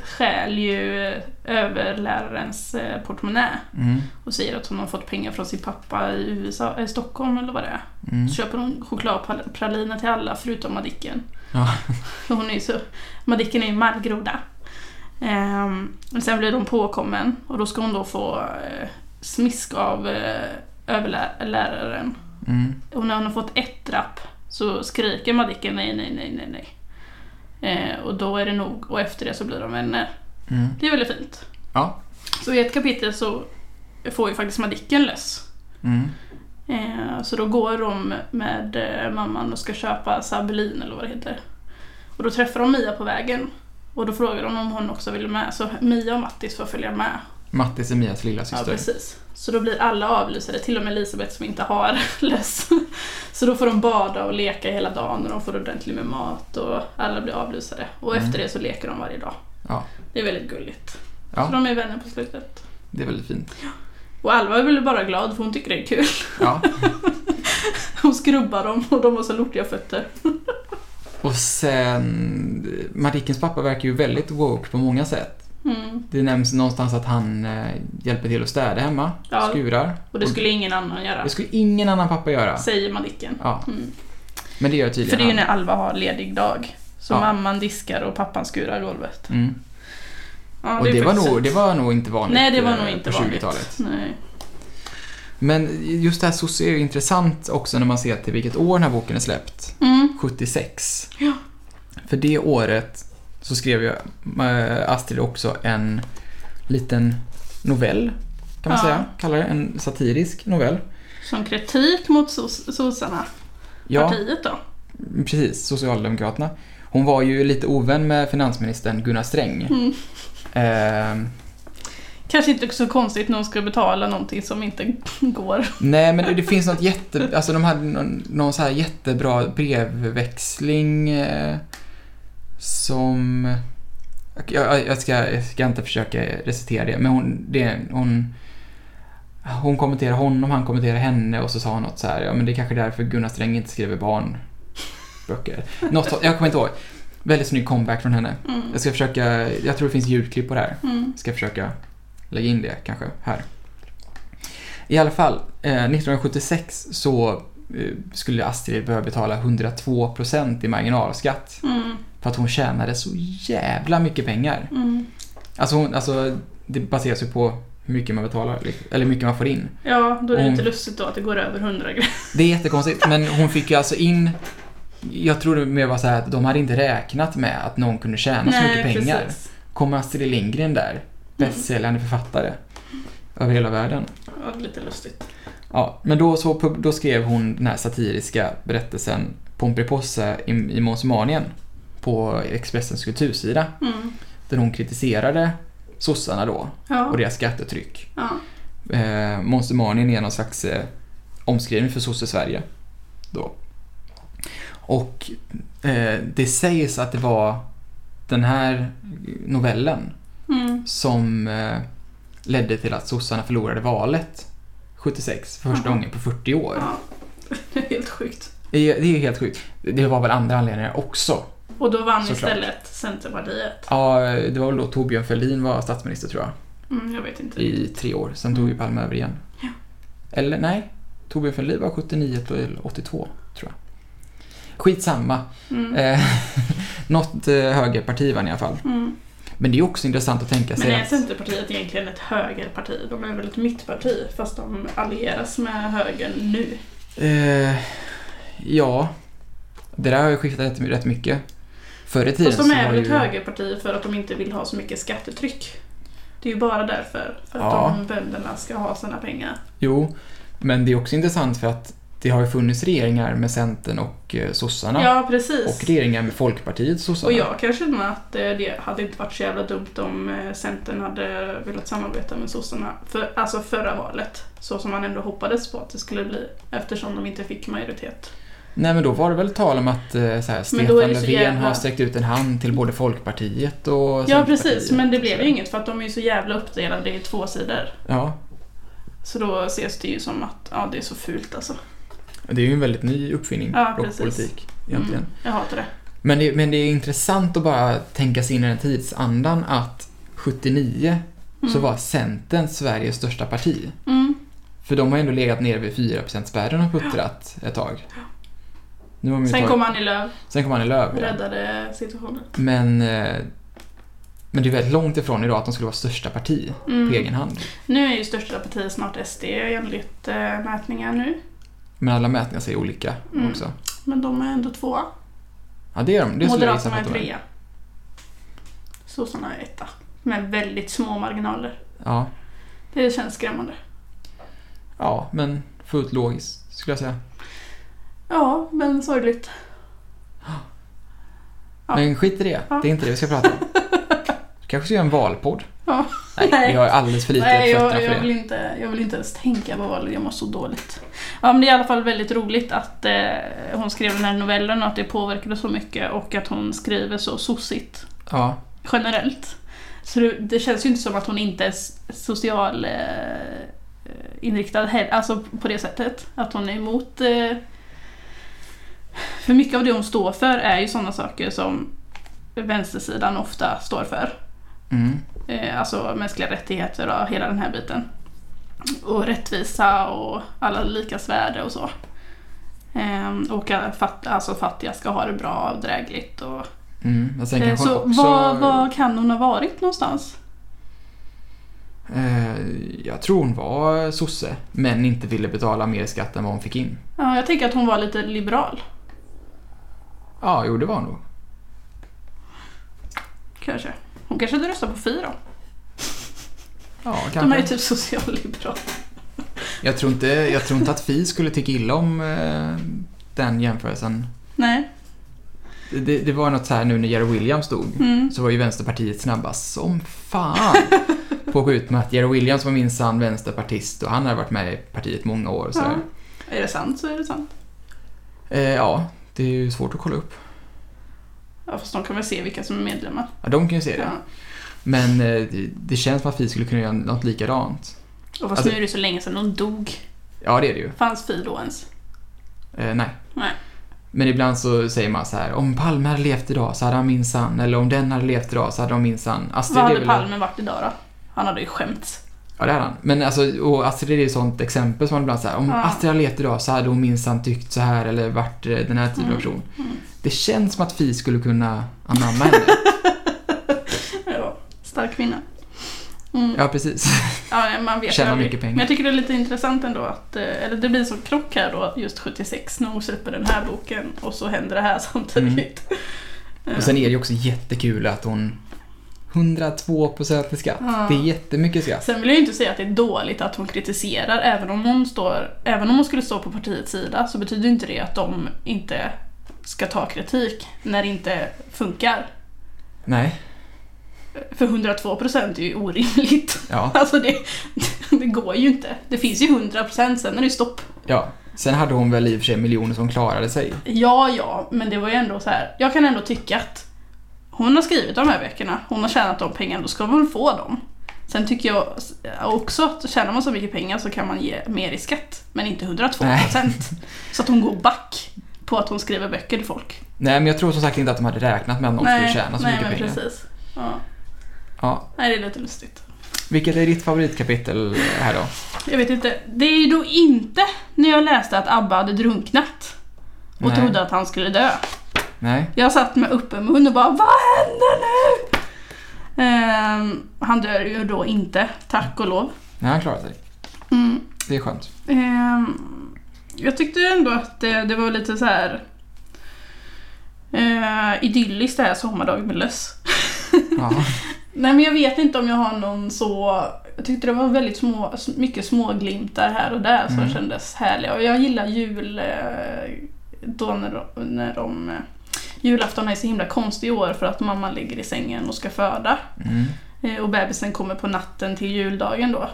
[SPEAKER 1] stjäl ju eh, överlärarens eh, portmonnä
[SPEAKER 2] mm,
[SPEAKER 1] och säger att hon har fått pengar från sin pappa i USA, i Stockholm eller vad det är.
[SPEAKER 2] mm.
[SPEAKER 1] Så köper hon chokladpraliner till alla förutom Madicken.
[SPEAKER 2] Ja.
[SPEAKER 1] Hon är ju så, Madicken är ju en mallgroda. Ehm, men sen blir hon påkommen och då ska hon då få eh, smisk av eh, överläraren.
[SPEAKER 2] Mm.
[SPEAKER 1] Och när hon har fått ett drapp så skriker Madicken nej, nej, nej, nej, nej. Eh, och då är det nog och efter det så blir de vänner.
[SPEAKER 2] Mm.
[SPEAKER 1] Det är väldigt fint.
[SPEAKER 2] Ja.
[SPEAKER 1] Så i ett kapitel så får ju faktiskt Madicken löss.
[SPEAKER 2] Mm.
[SPEAKER 1] Eh, så då går de med eh, mamman och ska köpa Sabelin eller vad det heter. Och då träffar de Mia på vägen. Och då frågar de om hon också vill med, så Mia och Mattis får följa med.
[SPEAKER 2] Mattis är Mias lilla
[SPEAKER 1] Ja,
[SPEAKER 2] syster.
[SPEAKER 1] precis. Så då blir alla avlysare, till och med Elisabeth som inte har löss. Så då får de bada och leka hela dagen och de får ordentligt med mat och alla blir avlysare. Och
[SPEAKER 2] Mm.
[SPEAKER 1] efter det så leker de varje dag.
[SPEAKER 2] Ja.
[SPEAKER 1] Det är väldigt gulligt. Så
[SPEAKER 2] ja,
[SPEAKER 1] de är vänner på slutet.
[SPEAKER 2] det är väldigt fint.
[SPEAKER 1] Och Alva är väl bara glad för hon tycker det är kul.
[SPEAKER 2] Ja.
[SPEAKER 1] Hon skrubbar dem och de har så lortiga fötter.
[SPEAKER 2] Och sen, Madickens pappa verkar ju väldigt woke på många sätt.
[SPEAKER 1] Mm.
[SPEAKER 2] Det nämns någonstans att han eh, hjälper till att städa hemma,
[SPEAKER 1] Ja.
[SPEAKER 2] skurar.
[SPEAKER 1] Och det skulle ingen annan göra,
[SPEAKER 2] det skulle ingen annan pappa göra.
[SPEAKER 1] säger Madicken.
[SPEAKER 2] Ja,
[SPEAKER 1] Mm.
[SPEAKER 2] men det gör
[SPEAKER 1] För
[SPEAKER 2] tydligen
[SPEAKER 1] det är ju
[SPEAKER 2] han.
[SPEAKER 1] när Alva har ledig dag. Så
[SPEAKER 2] Ja.
[SPEAKER 1] mamman diskar och pappan skurar golvet.
[SPEAKER 2] Mm.
[SPEAKER 1] Ja,
[SPEAKER 2] Och det
[SPEAKER 1] är
[SPEAKER 2] var,
[SPEAKER 1] faktiskt
[SPEAKER 2] nog,
[SPEAKER 1] ett-
[SPEAKER 2] det var nog inte vanligt
[SPEAKER 1] Nej, det var
[SPEAKER 2] eh,
[SPEAKER 1] nog inte
[SPEAKER 2] på
[SPEAKER 1] vanligt.
[SPEAKER 2] 20-talet.
[SPEAKER 1] Nej.
[SPEAKER 2] Men just det här sosse är ju intressant också när man ser till vilket år den här boken är släppt.
[SPEAKER 1] Mm.
[SPEAKER 2] 76.
[SPEAKER 1] Ja.
[SPEAKER 2] För det året så skrev ju eh, Astrid också en liten novell, kan man
[SPEAKER 1] Ja.
[SPEAKER 2] säga, kallar det, en satirisk novell.
[SPEAKER 1] Som kritik mot sos- sossarna,
[SPEAKER 2] Ja,
[SPEAKER 1] partiet då.
[SPEAKER 2] precis, Socialdemokraterna. Hon var ju lite ovän med finansministern Gunnar Sträng.
[SPEAKER 1] Mm.
[SPEAKER 2] Eh,
[SPEAKER 1] Kanske inte så konstigt när hon ska betala någonting som inte går.
[SPEAKER 2] nej, men det, det finns något jätte... Alltså de hade någon, någon så här jättebra brevväxling eh, som... Jag, jag- jag, ska, jag ska inte försöka recitera det, men hon, det, hon, hon kommenterar honom, han kommenterar henne och så sa hon något så här, ja men det är kanske därför Gunnar Sträng inte skriver barnböcker. Något, så- jag kommer inte ihåg. Väldigt snygg comeback från henne.
[SPEAKER 1] Mm.
[SPEAKER 2] Jag ska försöka, jag tror det finns ljudklipp på det här.
[SPEAKER 1] Mm.
[SPEAKER 2] Ska försöka lägga in det kanske här. I alla fall, eh, 1976 så eh, skulle Astrid behöva betala 102% i marginalskatt
[SPEAKER 1] Mm.
[SPEAKER 2] för att hon tjänade så jävla mycket pengar.
[SPEAKER 1] Mm.
[SPEAKER 2] Alltså, hon, alltså det baseras ju på hur mycket man betalar, liksom, eller hur mycket man får in.
[SPEAKER 1] Ja, då är det
[SPEAKER 2] Mm.
[SPEAKER 1] inte lustigt då att det går över 100 grejer.
[SPEAKER 2] Det är jättekonstigt, men hon fick ju alltså in jag tror det mer var så här att de hade inte räknat med att någon kunde tjäna så mycket pengar.
[SPEAKER 1] precis.
[SPEAKER 2] kommer Astrid Lindgren där, bästsäljande författare över hela världen.
[SPEAKER 1] Ja, det är lite lustigt.
[SPEAKER 2] Ja, men då, så, pub- då skrev hon den här satiriska berättelsen Pomperipossa i, i Månsmanien på Expressens kultursida
[SPEAKER 1] Mm.
[SPEAKER 2] där hon kritiserade sossarna då och
[SPEAKER 1] Ja.
[SPEAKER 2] deras skattetryck.
[SPEAKER 1] ja.
[SPEAKER 2] Eh, Måns Manien är någon slags eh, omskrivning för sosse-Sverige. Då. Och eh, det sägs att det var den här novellen
[SPEAKER 1] Mm.
[SPEAKER 2] som eh, ledde till att sossarna förlorade valet 76 för första
[SPEAKER 1] Aha.
[SPEAKER 2] gången på 40 år.
[SPEAKER 1] ja. Det är helt sjukt.
[SPEAKER 2] Det är det är ju helt sjukt. Det var väl andra anledningar också.
[SPEAKER 1] Och då vann
[SPEAKER 2] Såklart.
[SPEAKER 1] istället Centerpartiet.
[SPEAKER 2] Ja, det var väl då Torbjörn Fälldin var statsminister tror jag.
[SPEAKER 1] Mm, jag vet inte.
[SPEAKER 2] I tre år. Sen tog ju Palme över igen.
[SPEAKER 1] Mm. Ja.
[SPEAKER 2] Eller nej, Torbjörn Fälldin var 79 till 82 tror jag. Skitsamma.
[SPEAKER 1] Mm.
[SPEAKER 2] Eh, något eh, högerparti vann i alla fall.
[SPEAKER 1] Mm.
[SPEAKER 2] Men det är också intressant att tänka
[SPEAKER 1] Men
[SPEAKER 2] sig
[SPEAKER 1] är
[SPEAKER 2] att...
[SPEAKER 1] Centerpartiet egentligen ett högerparti? De är väl ett mittparti fast de allieras med högern nu.
[SPEAKER 2] Eh, ja, det där har ju skiftat rätt, rätt mycket. Förr i tiden
[SPEAKER 1] Fast de
[SPEAKER 2] så
[SPEAKER 1] är
[SPEAKER 2] var
[SPEAKER 1] väl ett
[SPEAKER 2] ju...
[SPEAKER 1] högerparti för att de inte vill ha så mycket skattetryck. Det är ju bara därför. För att
[SPEAKER 2] Ja.
[SPEAKER 1] de bönderna ska ha sina pengar.
[SPEAKER 2] Jo, men det är också intressant för att det har ju funnits regeringar med Centern och eh, sossarna.
[SPEAKER 1] Ja, precis.
[SPEAKER 2] Och regeringar med Folkpartiet och sossarna.
[SPEAKER 1] Och jag kan känna att eh, det hade inte varit så jävla dumt om eh, Centern hade velat samarbeta med sossarna. För, alltså förra valet. Så som man ändå hoppades på att det skulle bli. Eftersom de inte fick majoritet.
[SPEAKER 2] Nej men då var det väl tal om att eh, så här, Stefan
[SPEAKER 1] då är det så
[SPEAKER 2] Löfven
[SPEAKER 1] jävla-
[SPEAKER 2] har sträckt ut en hand till både Folkpartiet och
[SPEAKER 1] Ja
[SPEAKER 2] Centerpartiet.
[SPEAKER 1] precis, men det blev ju inget för att de är ju så jävla uppdelade i två sidor.
[SPEAKER 2] Ja,
[SPEAKER 1] Så då ses det ju som att ja, det är så fult alltså.
[SPEAKER 2] det är ju en väldigt ny uppfinning,
[SPEAKER 1] Ja,
[SPEAKER 2] blockpolitik
[SPEAKER 1] Mm,
[SPEAKER 2] egentligen.
[SPEAKER 1] jag hatar det.
[SPEAKER 2] Men, det, men det är intressant att bara tänka sig in i den tidsandan att 79 så
[SPEAKER 1] Mm.
[SPEAKER 2] var Centern Sveriges största parti.
[SPEAKER 1] Mm.
[SPEAKER 2] För de har ändå legat nere vid 4%-spärren och puttrat ett tag. Nu har de ju
[SPEAKER 1] Sen
[SPEAKER 2] tagit-
[SPEAKER 1] kom Annie Lööf
[SPEAKER 2] sen kom Annie Lööf.
[SPEAKER 1] och
[SPEAKER 2] ja.
[SPEAKER 1] räddade situationen.
[SPEAKER 2] Men, eh, men det är väldigt långt ifrån idag att de skulle vara största parti
[SPEAKER 1] Mm.
[SPEAKER 2] på egen hand.
[SPEAKER 1] Nu är ju största partiet snart SD enligt eh, mätningar nu.
[SPEAKER 2] Men alla mätningar säger olika
[SPEAKER 1] Mm.
[SPEAKER 2] också.
[SPEAKER 1] Men de är ändå tvåa.
[SPEAKER 2] Ja, det är de. Det skulle jag gissa
[SPEAKER 1] Moderaterna
[SPEAKER 2] på
[SPEAKER 1] är
[SPEAKER 2] att de är.
[SPEAKER 1] trea. Sossarna är etta. Med väldigt små marginaler.
[SPEAKER 2] Ja.
[SPEAKER 1] Det känns skrämmande.
[SPEAKER 2] ja, men fullt logiskt skulle jag säga.
[SPEAKER 1] Ja, men sorgligt. Ja.
[SPEAKER 2] Men skit i det.
[SPEAKER 1] Ja.
[SPEAKER 2] Det är inte det vi ska prata om. Du kanske ska göra en valpodd.
[SPEAKER 1] Ja.
[SPEAKER 2] Nej,
[SPEAKER 1] Nej.
[SPEAKER 2] jag är alldeles för lite
[SPEAKER 1] Nej,
[SPEAKER 2] på
[SPEAKER 1] jag,
[SPEAKER 2] fötterna
[SPEAKER 1] jag,
[SPEAKER 2] för det.
[SPEAKER 1] vill inte, jag vill inte ens tänka på valet, jag mår så dåligt. Ja, men det är i alla fall väldigt roligt att eh, hon skrev den här novellen och att det påverkade så mycket och att hon skriver så sossigt
[SPEAKER 2] Ja,
[SPEAKER 1] generellt. Så det, det känns ju inte som att hon inte är s- social eh, inriktad heller, alltså på det sättet. Att hon är emot... Eh, för mycket av det hon står för är ju sådana saker som vänstersidan ofta står för.
[SPEAKER 2] mm.
[SPEAKER 1] Eh, alltså mänskliga rättigheter och hela den här biten. Och rättvisa och alla likas värde och så. Ehm, och att fatt, alltså fattiga ska ha det bra och drägligt. Och,
[SPEAKER 2] Mm. Och sen
[SPEAKER 1] eh,
[SPEAKER 2] kanske
[SPEAKER 1] så
[SPEAKER 2] hon också...
[SPEAKER 1] vad, vad kan hon ha varit någonstans?
[SPEAKER 2] Eh, jag tror hon var sosse, men inte ville betala mer skatt än vad hon fick in.
[SPEAKER 1] Ja, jag tänker att hon var lite liberal,
[SPEAKER 2] Ja, jo det var hon nog.
[SPEAKER 1] kanske. Hon kanske hade röstat på Fi då.
[SPEAKER 2] Ja,
[SPEAKER 1] De är ju
[SPEAKER 2] kanske.
[SPEAKER 1] typ socialliberala.
[SPEAKER 2] Jag, tror inte, jag tror inte att Fi skulle tycka illa om eh, den jämförelsen.
[SPEAKER 1] Nej.
[SPEAKER 2] Det, det var något så här nu när Jerry Williams dog.
[SPEAKER 1] Mm.
[SPEAKER 2] så var ju Vänsterpartiet snabba som fan på att gå ut med att Jerry Williams var minsann vänsterpartist och han har varit med i partiet många år. Så
[SPEAKER 1] Ja.
[SPEAKER 2] ja.
[SPEAKER 1] Är det sant så är det sant.
[SPEAKER 2] Eh, ja, det är ju svårt att kolla upp.
[SPEAKER 1] Ja, fast de kan väl se vilka som är medlemmar.
[SPEAKER 2] Ja, de kan ju se det.
[SPEAKER 1] Ja.
[SPEAKER 2] Men eh, det, det känns som att vi skulle kunna göra något likadant.
[SPEAKER 1] Och fast
[SPEAKER 2] Alltså-
[SPEAKER 1] nu är det så länge sedan hon dog.
[SPEAKER 2] Ja, det är det ju.
[SPEAKER 1] Fanns Fi då ens?
[SPEAKER 2] Eh, nej.
[SPEAKER 1] Nej.
[SPEAKER 2] Men ibland så säger man så här, om Palme hade levt idag så hade han minsann, eller om den hade levt idag så hade de minsann. Astrid
[SPEAKER 1] Vad
[SPEAKER 2] är
[SPEAKER 1] hade
[SPEAKER 2] väl-
[SPEAKER 1] Palme varit idag då? Han hade ju skämts.
[SPEAKER 2] Ja, det hade han. Men alltså, och Astrid är ju ett sånt exempel som man ibland säger, om
[SPEAKER 1] Ja.
[SPEAKER 2] Astrid hade levt idag så hade hon minsann tyckt så här eller varit eh, den här typen
[SPEAKER 1] Mm.
[SPEAKER 2] av person.
[SPEAKER 1] Mm.
[SPEAKER 2] Det känns som att Fi skulle kunna anamma henne.
[SPEAKER 1] Ja, stark kvinna. Mm. Ja.
[SPEAKER 2] ja, precis.
[SPEAKER 1] nej, man vet
[SPEAKER 2] Tjänar
[SPEAKER 1] aldrig.
[SPEAKER 2] mycket pengar.
[SPEAKER 1] Men jag tycker det är lite intressant ändå att, eh, eller det blir som krock här då, just 76 när hon släpper den här boken
[SPEAKER 2] Mm.
[SPEAKER 1] och så händer det här samtidigt.
[SPEAKER 2] Och sen är det ju också jättekul att hon 102% i skatt.
[SPEAKER 1] Ja.
[SPEAKER 2] Det är jättemycket skatt.
[SPEAKER 1] Sen vill jag ju inte säga att det är dåligt att hon kritiserar. Även om hon, står, även om hon skulle stå på partiets sida så betyder inte det att de inte ska ta kritik när det inte funkar.
[SPEAKER 2] Nej,
[SPEAKER 1] För 102% är ju orimligt.
[SPEAKER 2] ja.
[SPEAKER 1] Alltså det, det går ju inte. Det finns ju 100% sen är det stopp.
[SPEAKER 2] ja. Sen hade hon väl i och för sig miljoner som klarade sig.
[SPEAKER 1] Ja, ja, men det var ju ändå så här. Jag kan ändå tycka att hon har skrivit de här böckerna, hon har tjänat de pengarna, då ska hon väl få dem. Sen tycker jag också att tjänar man så mycket pengar så kan man ge mer i skatt, men inte 102 procent. Så att hon går back på att hon skriver böcker till folk.
[SPEAKER 2] Nej, men jag tror som sagt inte att de hade räknat med att någon skulle tjäna så
[SPEAKER 1] nej
[SPEAKER 2] mycket
[SPEAKER 1] men
[SPEAKER 2] pengar.
[SPEAKER 1] precis. Ja.
[SPEAKER 2] Ja.
[SPEAKER 1] Nej, det är lite lustigt.
[SPEAKER 2] Vilket är ditt favoritkapitel eh, här då?
[SPEAKER 1] Jag vet inte, det är ju då inte när jag läste att Abba hade drunknat och
[SPEAKER 2] Nej.
[SPEAKER 1] trodde att han skulle dö.
[SPEAKER 2] Nej.
[SPEAKER 1] Jag satt med öppen mun och bara Vad händer nu? Ehm, han dör ju då inte, tack och lov.
[SPEAKER 2] Nej, han klarade sig.
[SPEAKER 1] Mm.
[SPEAKER 2] Det är skönt.
[SPEAKER 1] Ehm, jag tyckte ändå att det, det var lite så här eh, idylliskt det här sommardagen med löss.
[SPEAKER 2] Ja.
[SPEAKER 1] Nej men jag vet inte om jag har någon så... Jag tyckte det var väldigt små, mycket små glimtar här och där som
[SPEAKER 2] Mm.
[SPEAKER 1] kändes härliga. Och jag gillar jul... eh, Då när de... När de eh, julafton är så himla konstig i år för att mamma ligger i sängen och ska föda.
[SPEAKER 2] Mm.
[SPEAKER 1] Eh, Och bebisen kommer på natten till juldagen då.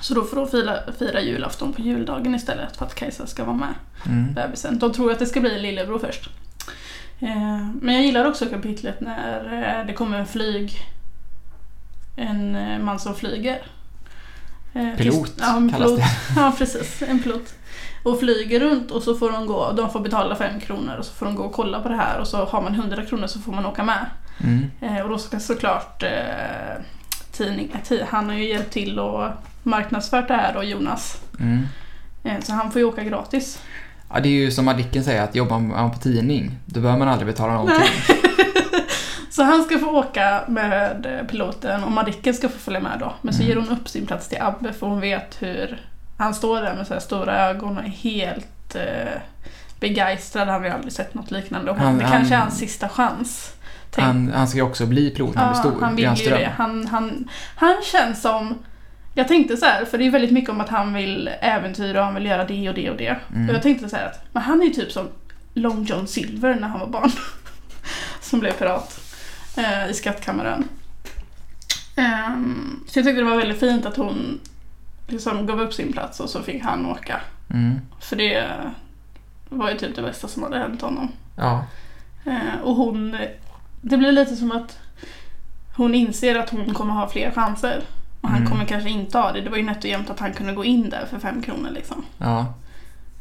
[SPEAKER 1] Så då får de fira, fira julafton på juldagen istället för att Kajsa ska vara med
[SPEAKER 2] Mm.
[SPEAKER 1] bebisen. De tror att det ska bli en lillebror först. Eh, Men jag gillar också kapitlet när eh, det kommer en flyg... En eh, man som flyger. Eh,
[SPEAKER 2] Pilot
[SPEAKER 1] tills- ja, en
[SPEAKER 2] kallas
[SPEAKER 1] pilot.
[SPEAKER 2] det.
[SPEAKER 1] Ja, precis. En pilot. Och flyger runt och så får de gå, de får betala fem kronor och så får de gå och kolla på det här och så har man 100 kronor så får man åka med.
[SPEAKER 2] Mm.
[SPEAKER 1] Eh, Och då ska såklart eh, tidning, ti- han har ju hjälpt till och marknadsfört det här då, Jonas.
[SPEAKER 2] Mm.
[SPEAKER 1] Eh, Så han får ju åka gratis.
[SPEAKER 2] Ja, det är ju som Madicken säger, att jobbar man på tidning, då behöver man aldrig betala någonting.
[SPEAKER 1] Så han ska få åka med eh, piloten och Madicken ska få följa med då. Men så
[SPEAKER 2] Mm.
[SPEAKER 1] ger hon upp sin plats till Abbe för hon vet hur han står där med så här stora ögon och är helt eh, begeistrad. Han har ju aldrig sett något liknande. Och
[SPEAKER 2] Han-
[SPEAKER 1] det kanske är
[SPEAKER 2] han-
[SPEAKER 1] hans sista chans. tänker
[SPEAKER 2] Han, han ska ju också bli pilot när han blir
[SPEAKER 1] Ja, han
[SPEAKER 2] stor. Det är
[SPEAKER 1] vill
[SPEAKER 2] hans
[SPEAKER 1] ju
[SPEAKER 2] dröm.
[SPEAKER 1] det. Han, han, han känns som... Jag tänkte så här, för det är väldigt mycket om att han vill äventyra och han vill göra det och det och det.
[SPEAKER 2] Mm.
[SPEAKER 1] Och jag tänkte så här att, men han är ju typ som Long John Silver när han var barn. som blev pirat eh, i skattkammaren. Ehm, så jag tyckte det var väldigt fint att hon liksom gav upp sin plats och så fick han åka.
[SPEAKER 2] Mm.
[SPEAKER 1] För det var ju typ det bästa som hade hänt honom.
[SPEAKER 2] Ja.
[SPEAKER 1] Eh, Och hon, det blir lite som att hon inser att hon kommer ha fler chanser. Och han
[SPEAKER 2] Mm.
[SPEAKER 1] kommer kanske inte ha det. Det var ju nätt och jämnt att han kunde gå in där för fem kronor liksom.
[SPEAKER 2] Ja.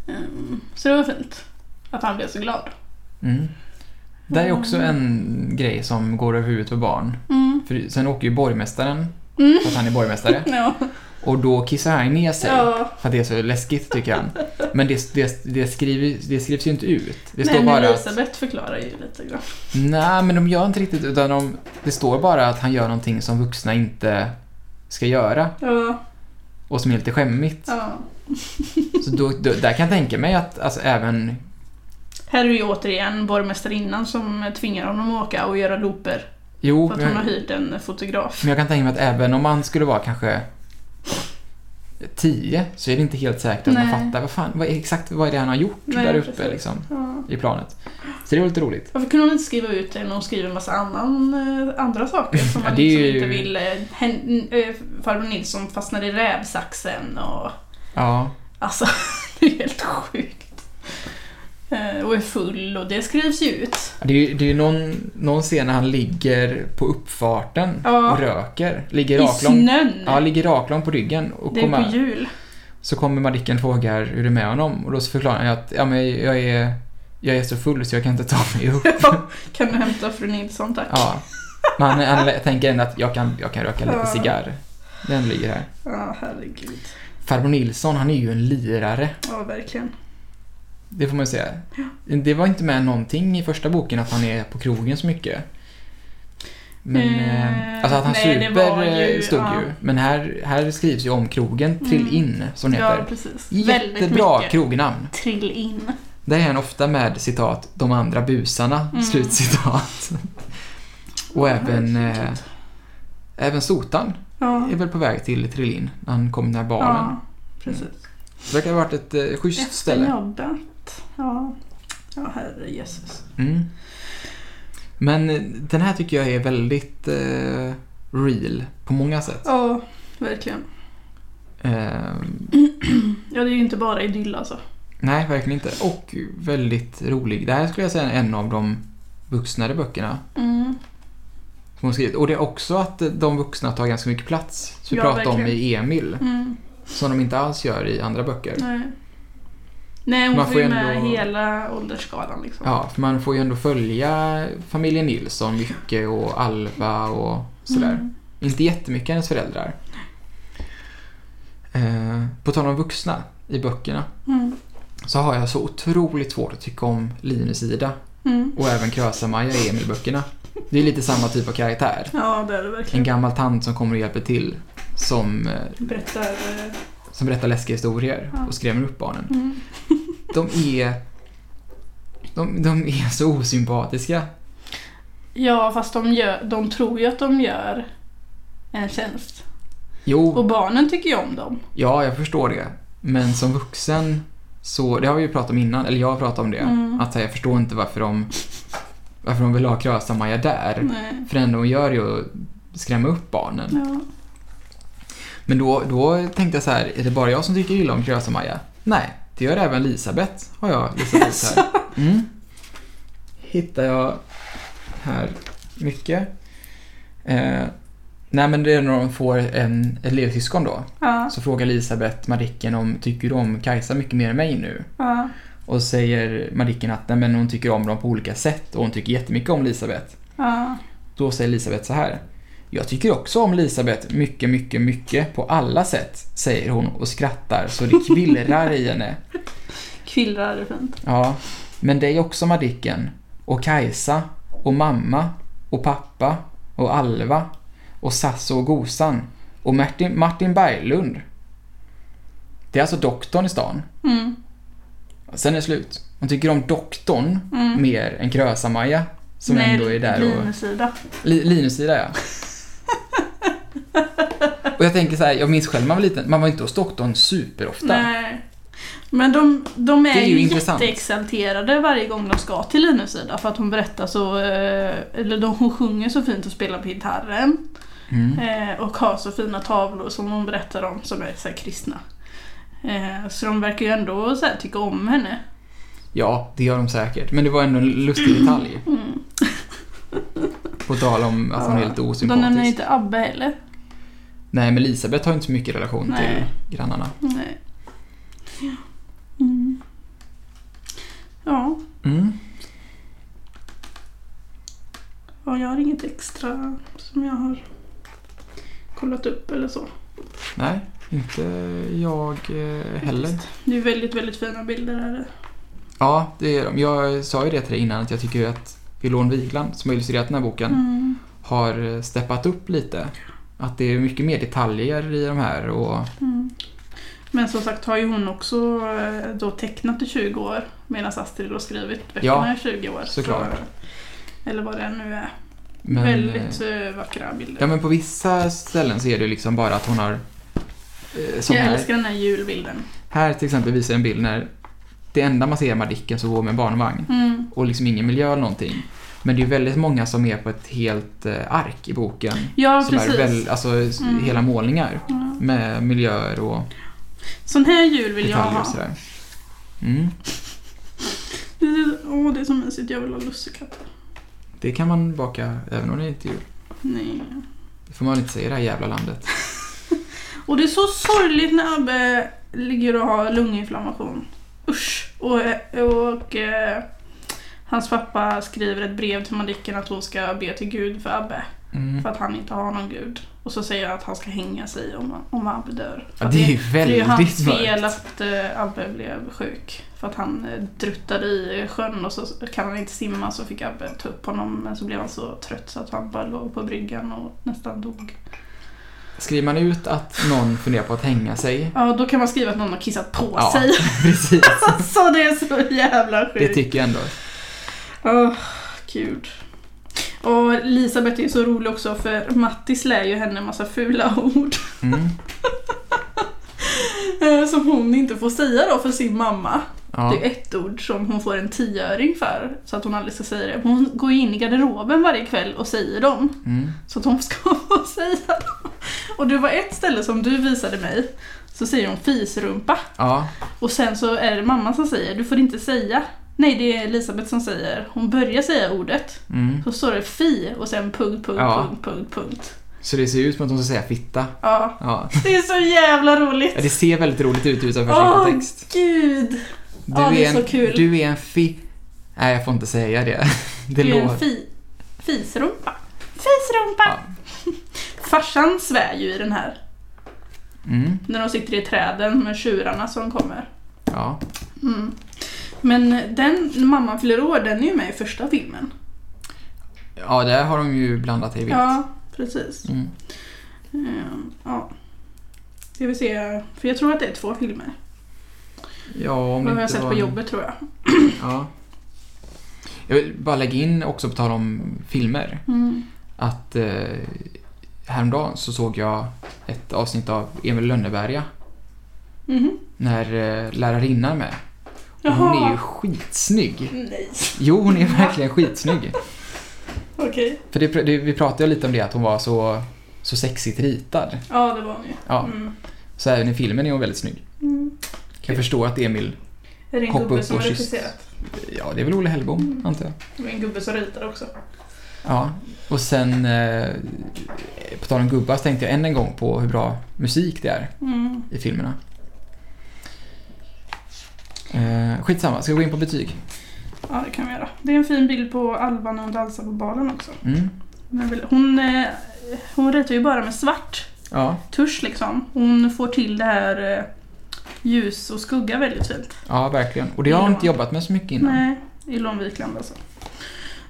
[SPEAKER 1] Ehm, Så det var fint. Att han blev så glad.
[SPEAKER 2] Mm. Det är också en grej som går över huvudet på barn.
[SPEAKER 1] Mm.
[SPEAKER 2] För sen åker ju borgmästaren,
[SPEAKER 1] Mm.
[SPEAKER 2] för att han är borgmästare,
[SPEAKER 1] Ja.
[SPEAKER 2] och då kissar han ner sig.
[SPEAKER 1] ja.
[SPEAKER 2] För att det är så läskigt tycker han. Men det, det, det, skrivs, det skrivs ju inte ut. Det står
[SPEAKER 1] Nej, men
[SPEAKER 2] bara att,
[SPEAKER 1] Elisabeth förklarar ju lite grann.
[SPEAKER 2] Nej, men de gör inte riktigt utan de, det står bara att han gör någonting som vuxna inte ska göra
[SPEAKER 1] Ja,
[SPEAKER 2] och som är lite skämmigt.
[SPEAKER 1] ja.
[SPEAKER 2] Så då, då, där kan jag tänka mig att alltså, även...
[SPEAKER 1] Här är ju återigen borgmästarinnan som tvingar honom att åka och göra looper.
[SPEAKER 2] Jo,
[SPEAKER 1] För att hon har
[SPEAKER 2] men,
[SPEAKER 1] hyrt en fotograf.
[SPEAKER 2] men jag kan tänka mig att även om man skulle vara kanske 10 så är det inte helt säkert att
[SPEAKER 1] Nej.
[SPEAKER 2] man fattar vad fan, vad, är- exakt vad är det han har gjort
[SPEAKER 1] Nej,
[SPEAKER 2] där
[SPEAKER 1] precis.
[SPEAKER 2] uppe liksom,
[SPEAKER 1] Ja.
[SPEAKER 2] i planet. Så det var lite roligt.
[SPEAKER 1] Varför kunde hon inte skriva ut det när hon skriver en massa annan, eh, andra saker som
[SPEAKER 2] Ja,
[SPEAKER 1] man
[SPEAKER 2] det är
[SPEAKER 1] liksom
[SPEAKER 2] ju-
[SPEAKER 1] inte vill... eh, hen- eh, Farbror Nilsson fastnade i rävsaxen och...
[SPEAKER 2] Ja,
[SPEAKER 1] Alltså, det är helt sjukt. Eh, Och är full och det skrivs ju ut.
[SPEAKER 2] det är ju det är ju någon, någon scen när han ligger på uppfarten
[SPEAKER 1] Ja.
[SPEAKER 2] och röker. Ligger
[SPEAKER 1] I
[SPEAKER 2] raklång.
[SPEAKER 1] snön!
[SPEAKER 2] Ja, ligger raklång på ryggen och
[SPEAKER 1] det är
[SPEAKER 2] kommer,
[SPEAKER 1] på jul. så
[SPEAKER 2] så kommer Madicken och frågar hur det är med honom och då så förklarar han att ja, men jag, är, jag är så full så jag kan inte ta mig upp.
[SPEAKER 1] kan du hämta fru Nilsson tack?
[SPEAKER 2] Ja. Men han, han tänker ändå att jag kan, jag kan röka lite
[SPEAKER 1] Ja.
[SPEAKER 2] cigarr. Den ligger här.
[SPEAKER 1] Ja, herregud.
[SPEAKER 2] Farbror Nilsson, han är ju en lirare.
[SPEAKER 1] Ja, verkligen.
[SPEAKER 2] Det får man ju säga. Det var inte med någonting i första boken att han är på krogen så mycket. Men,
[SPEAKER 1] Eh,
[SPEAKER 2] eh, alltså att han
[SPEAKER 1] nej, det var
[SPEAKER 2] super
[SPEAKER 1] ju-
[SPEAKER 2] eh, stod
[SPEAKER 1] ja.
[SPEAKER 2] ju. Men här, här skrivs ju om krogen, Trill
[SPEAKER 1] Mm.
[SPEAKER 2] in, som det
[SPEAKER 1] Ja,
[SPEAKER 2] heter.
[SPEAKER 1] precis. Väldigt
[SPEAKER 2] Jättebra
[SPEAKER 1] mycket.
[SPEAKER 2] krognamn.
[SPEAKER 1] Trill in.
[SPEAKER 2] Där är han ofta med citat, de andra busarna,
[SPEAKER 1] Mm.
[SPEAKER 2] slutcitat. Och även,
[SPEAKER 1] verkligen.
[SPEAKER 2] eh, även Sotan
[SPEAKER 1] Ja,
[SPEAKER 2] är väl på väg till Trilin när han kom när balen.
[SPEAKER 1] ja precis.
[SPEAKER 2] Det verkar ha varit ett eh, schysst
[SPEAKER 1] Efter
[SPEAKER 2] ställe.
[SPEAKER 1] jobbet. Ja, ja herre Jesus.
[SPEAKER 2] Mm. Men eh, den här tycker jag är väldigt eh, real på många sätt.
[SPEAKER 1] Ja, verkligen.
[SPEAKER 2] Eh,
[SPEAKER 1] Ja, det är ju inte bara idyll alltså.
[SPEAKER 2] nej, verkligen inte. Och väldigt rolig. Det här skulle jag säga är en av de vuxnare böckerna
[SPEAKER 1] Mm.
[SPEAKER 2] som hon skrivit. Och det är också att eh, de vuxna tar ganska mycket plats. Som vi
[SPEAKER 1] Ja,
[SPEAKER 2] pratade om
[SPEAKER 1] verkligen.
[SPEAKER 2] i Emil.
[SPEAKER 1] Mm.
[SPEAKER 2] Som de inte alls gör i andra böcker.
[SPEAKER 1] Nej. Nej, hon
[SPEAKER 2] Man
[SPEAKER 1] får
[SPEAKER 2] får
[SPEAKER 1] ju
[SPEAKER 2] ändå-
[SPEAKER 1] med hela åldersskalan liksom.
[SPEAKER 2] Ja, för man får ju ändå följa familjen Nilsson mycket och Alva och sådär.
[SPEAKER 1] Mm.
[SPEAKER 2] Inte jättemycket hennes föräldrar. Eh, på tal om vuxna i böckerna
[SPEAKER 1] Mm.
[SPEAKER 2] så har jag så otroligt svårt att tycka om Linus Ida
[SPEAKER 1] Mm.
[SPEAKER 2] och även Krösa-Maja i Emil-böckerna. Det är lite samma typ av karaktär.
[SPEAKER 1] Ja, det är det
[SPEAKER 2] En
[SPEAKER 1] verkligen.
[SPEAKER 2] gammal tant som kommer och hjälper till som, eh,
[SPEAKER 1] Berättar... eh,
[SPEAKER 2] som berättar läskiga historier
[SPEAKER 1] Ja.
[SPEAKER 2] och skrämmer upp barnen.
[SPEAKER 1] Mm.
[SPEAKER 2] De är, de, de är så osympatiska.
[SPEAKER 1] Ja, fast de, gör, de tror ju att de gör en tjänst.
[SPEAKER 2] Jo,
[SPEAKER 1] Och barnen tycker ju om dem.
[SPEAKER 2] Ja, jag förstår det. Men som vuxen så, det har vi ju pratat om innan, eller jag har pratat om det,
[SPEAKER 1] Mm.
[SPEAKER 2] att så här, jag förstår inte varför de, varför de vill ha Krösa-Maja där.
[SPEAKER 1] Nej.
[SPEAKER 2] För det enda hon gör är ju att skrämma upp barnen.
[SPEAKER 1] Ja.
[SPEAKER 2] Men då, då tänkte jag så här, är det bara jag som tycker illa om Krösa-Maja? Nej, det gör även Elisabeth, har jag Elisabeth här. Mm. Hittar jag här mycket. Eh, nej men det är när de får en, ett lillsyskon då.
[SPEAKER 1] Ja.
[SPEAKER 2] Så frågar Elisabeth Madicken om tycker du om Kajsa mycket mer än mig nu?
[SPEAKER 1] Ja.
[SPEAKER 2] Och säger Madicken att nej, men hon tycker om dem på olika sätt och hon tycker jättemycket om Elisabeth.
[SPEAKER 1] Ja.
[SPEAKER 2] Då säger Elisabeth så här. Jag tycker också om Elisabeth mycket, mycket, mycket på alla sätt, säger hon och skrattar så det kvillrar i henne.
[SPEAKER 1] Kvillrar är fint.
[SPEAKER 2] Ja, men dig också Madicken och Kajsa och mamma och pappa och Alva och Sasso och Gosan och Martin, Martin Berglund. Det är alltså doktorn i stan.
[SPEAKER 1] Mm.
[SPEAKER 2] Sen är det slut. Hon tycker om doktorn
[SPEAKER 1] Mm.
[SPEAKER 2] mer än Krösa-Maja som
[SPEAKER 1] Nej,
[SPEAKER 2] ändå är där och...
[SPEAKER 1] Linusida.
[SPEAKER 2] Li- Linus-sida ja. och jag tänker så här, jag minns själv när man var liten, man var inte hos doktorn superofta.
[SPEAKER 1] Nej. Men de, de är,
[SPEAKER 2] Det är ju
[SPEAKER 1] ju
[SPEAKER 2] intressant.
[SPEAKER 1] jätteexalterade varje gång de ska till Linusida för att hon berättar så, eh, eller de, hon sjunger så fint och spelar på gitarren
[SPEAKER 2] Mm.
[SPEAKER 1] eh, och har så fina tavlor som hon berättar om som är så här kristna. Eh, Så de verkar ju ändå så här, tycka om henne.
[SPEAKER 2] Ja, det gör de säkert. Men det var ändå en lustig
[SPEAKER 1] Mm.
[SPEAKER 2] detalj. På tal om att hon är lite
[SPEAKER 1] De nämner ju
[SPEAKER 2] osympatisk.
[SPEAKER 1] inte Abbe heller.
[SPEAKER 2] Nej, men Elisabeth har ju inte så mycket relation
[SPEAKER 1] Nej.
[SPEAKER 2] till grannarna.
[SPEAKER 1] Nej. Mm. Ja,
[SPEAKER 2] Mm.
[SPEAKER 1] ja, jag har inget extra som jag har kollat upp eller så.
[SPEAKER 2] Nej, inte jag eh, heller.
[SPEAKER 1] Det är väldigt, väldigt fina bilder här.
[SPEAKER 2] Ja, det är de. Jag sa ju det till dig innan att jag tycker att Ilon Wigland, som har illustrerat den här boken,
[SPEAKER 1] Mm.
[SPEAKER 2] har steppat upp lite. Att det är mycket mer detaljer i de här och
[SPEAKER 1] Mm. Men som sagt har ju hon också eh, då tecknat i 20 år medan Astrid har skrivit böckerna
[SPEAKER 2] Ja,
[SPEAKER 1] i 20 år.
[SPEAKER 2] såklart.
[SPEAKER 1] Så- eller vad det nu är.
[SPEAKER 2] men,
[SPEAKER 1] väldigt
[SPEAKER 2] eh,
[SPEAKER 1] eh, vackra bilder.
[SPEAKER 2] Ja, men på vissa ställen så är det ju liksom bara att hon har... eh, Som
[SPEAKER 1] jag
[SPEAKER 2] här.
[SPEAKER 1] älskar den här julbilden.
[SPEAKER 2] Här till exempel visar jag en bild när det enda man ser är Madicken som går med en barnvagn
[SPEAKER 1] Mm.
[SPEAKER 2] och liksom ingen miljö eller någonting. Men det är ju väldigt många som är på ett helt eh, ark i boken.
[SPEAKER 1] Ja,
[SPEAKER 2] som
[SPEAKER 1] precis.
[SPEAKER 2] är väl, alltså s-
[SPEAKER 1] Mm.
[SPEAKER 2] hela målningar
[SPEAKER 1] Ja.
[SPEAKER 2] med miljöer och
[SPEAKER 1] Sån här jul vill jag
[SPEAKER 2] detaljer
[SPEAKER 1] ha.
[SPEAKER 2] och sådär. Mm.
[SPEAKER 1] Det är- Åh, det är så mysigt. Jag vill ha lussekatter.
[SPEAKER 2] Det kan man baka även om det inte är jul.
[SPEAKER 1] Nej.
[SPEAKER 2] Det får man väl inte säga i det här jävla landet.
[SPEAKER 1] Och det är så sorgligt när Abbe ligger och har lunginflammation. Usch! Och, och eh, hans pappa skriver ett brev till Madicken att hon ska be till Gud för Abbe.
[SPEAKER 2] Mm.
[SPEAKER 1] För att han inte har någon gud. Och så säger han att han ska hänga sig om, om Abbe dör.
[SPEAKER 2] Ja, det är ju
[SPEAKER 1] det är ju
[SPEAKER 2] väldigt
[SPEAKER 1] hans
[SPEAKER 2] mörkt.
[SPEAKER 1] fel att eh, Abbe blev sjuk. För att han eh, druttade i sjön och så kan han inte simma så fick Abbe ta upp honom. Men så blev han så trött så att han bara låg på bryggan och nästan dog.
[SPEAKER 2] Skriver man ut att någon funderar på att hänga sig?
[SPEAKER 1] Ja, då kan man skriva att någon har kissat på
[SPEAKER 2] Ja,
[SPEAKER 1] sig.
[SPEAKER 2] precis.
[SPEAKER 1] Alltså det är typ- så jävla
[SPEAKER 2] Det
[SPEAKER 1] sjukt.
[SPEAKER 2] tycker jag ändå.
[SPEAKER 1] Åh, gud. Och Elisabeth är ju så rolig också för Matti slär ju henne en massa fula ord.
[SPEAKER 2] Mm.
[SPEAKER 1] eh, Som hon inte får säga då för sin mamma.
[SPEAKER 2] Ja.
[SPEAKER 1] Det är ett ord som hon får en tioöring för. Så att hon aldrig ska säga det. Men Hon går ju in i garderoben varje kväll och säger dem.
[SPEAKER 2] Mm.
[SPEAKER 1] Så att hon ska få säga dem. Och det var ett ställe som du visade mig. Så säger hon fisrumpa.
[SPEAKER 2] ja.
[SPEAKER 1] Och sen så är det mamma som säger du får inte säga. Nej det är Elisabeth som säger. Hon börjar säga ordet.
[SPEAKER 2] Mm.
[SPEAKER 1] Så står det fi och sen punkt, punkt,
[SPEAKER 2] Ja.
[SPEAKER 1] punkt, punkt, punkt.
[SPEAKER 2] Så det ser ut som att hon ska säga fitta.
[SPEAKER 1] Ja.
[SPEAKER 2] Ja.
[SPEAKER 1] Det är så jävla
[SPEAKER 2] Ja,
[SPEAKER 1] roligt.
[SPEAKER 2] det ser väldigt roligt ut utanför sin
[SPEAKER 1] Åh
[SPEAKER 2] kontext.
[SPEAKER 1] gud!
[SPEAKER 2] Du
[SPEAKER 1] ja, det är
[SPEAKER 2] en,
[SPEAKER 1] så kul.
[SPEAKER 2] Du är en fi... Nej, jag får inte säga det. Det
[SPEAKER 1] Det är en
[SPEAKER 2] låter...
[SPEAKER 1] fi, fisrumpa. Fisrumpa!
[SPEAKER 2] Ja.
[SPEAKER 1] Farsan svär ju i den här.
[SPEAKER 2] Mm.
[SPEAKER 1] När de sitter i träden med tjurarna som kommer.
[SPEAKER 2] Ja.
[SPEAKER 1] Mm. Men den, när mamman fyller år, den är ju med i första filmen.
[SPEAKER 2] ja, där har de ju blandat hej vilt.
[SPEAKER 1] Ja, precis.
[SPEAKER 2] Mm.
[SPEAKER 1] Ehm, Ja. Ska vi se, för jag tror att det är två filmer.
[SPEAKER 2] Ja, om
[SPEAKER 1] Det har
[SPEAKER 2] inte
[SPEAKER 1] jag sett
[SPEAKER 2] var
[SPEAKER 1] på
[SPEAKER 2] en-
[SPEAKER 1] jobbet tror jag.
[SPEAKER 2] Ja. Jag vill bara lägga in också på tal om filmer.
[SPEAKER 1] Mm.
[SPEAKER 2] Att eh, häromdagen så såg jag ett avsnitt av Emil i Lönneberga
[SPEAKER 1] Mhm.
[SPEAKER 2] när eh, lärarinnan är med. Och
[SPEAKER 1] Jaha.
[SPEAKER 2] hon är ju skitsnygg.
[SPEAKER 1] Nej,
[SPEAKER 2] Jo, hon är verkligen skitsnygg.
[SPEAKER 1] okej.
[SPEAKER 2] För det, det, vi pratade ju lite om det, att hon var så, så sexigt ritad.
[SPEAKER 1] Ja, det var hon ju.
[SPEAKER 2] Ja,
[SPEAKER 1] Mm.
[SPEAKER 2] så även i filmen är hon väldigt snygg.
[SPEAKER 1] Mm.
[SPEAKER 2] Jag förstår att Emil,
[SPEAKER 1] Är det en
[SPEAKER 2] Hoppa
[SPEAKER 1] gubbe
[SPEAKER 2] upp
[SPEAKER 1] som
[SPEAKER 2] och
[SPEAKER 1] har
[SPEAKER 2] kyss.
[SPEAKER 1] regisserat?
[SPEAKER 2] ja det är väl Olle Hellbom,
[SPEAKER 1] Mm.
[SPEAKER 2] antar jag.
[SPEAKER 1] Det var en gubbe som ritade också.
[SPEAKER 2] Ja, och sen eh, på tal om gubbar så tänkte jag än en gång på hur bra musik det är
[SPEAKER 1] Mm.
[SPEAKER 2] i filmerna. Eh, skitsamma, ska vi gå in på betyg?
[SPEAKER 1] Ja, det kan vi göra. Det är en fin bild på Alva när hon dansar på balen också.
[SPEAKER 2] Mm.
[SPEAKER 1] Hon, är väl- hon, eh, hon ritar ju bara med svart
[SPEAKER 2] Ja,
[SPEAKER 1] tusch liksom. Hon får till det här eh, ljus och skugga väldigt fint.
[SPEAKER 2] ja, verkligen. Och det har hon inte jobbat med så mycket innan.
[SPEAKER 1] Nej, i Långvikland alltså.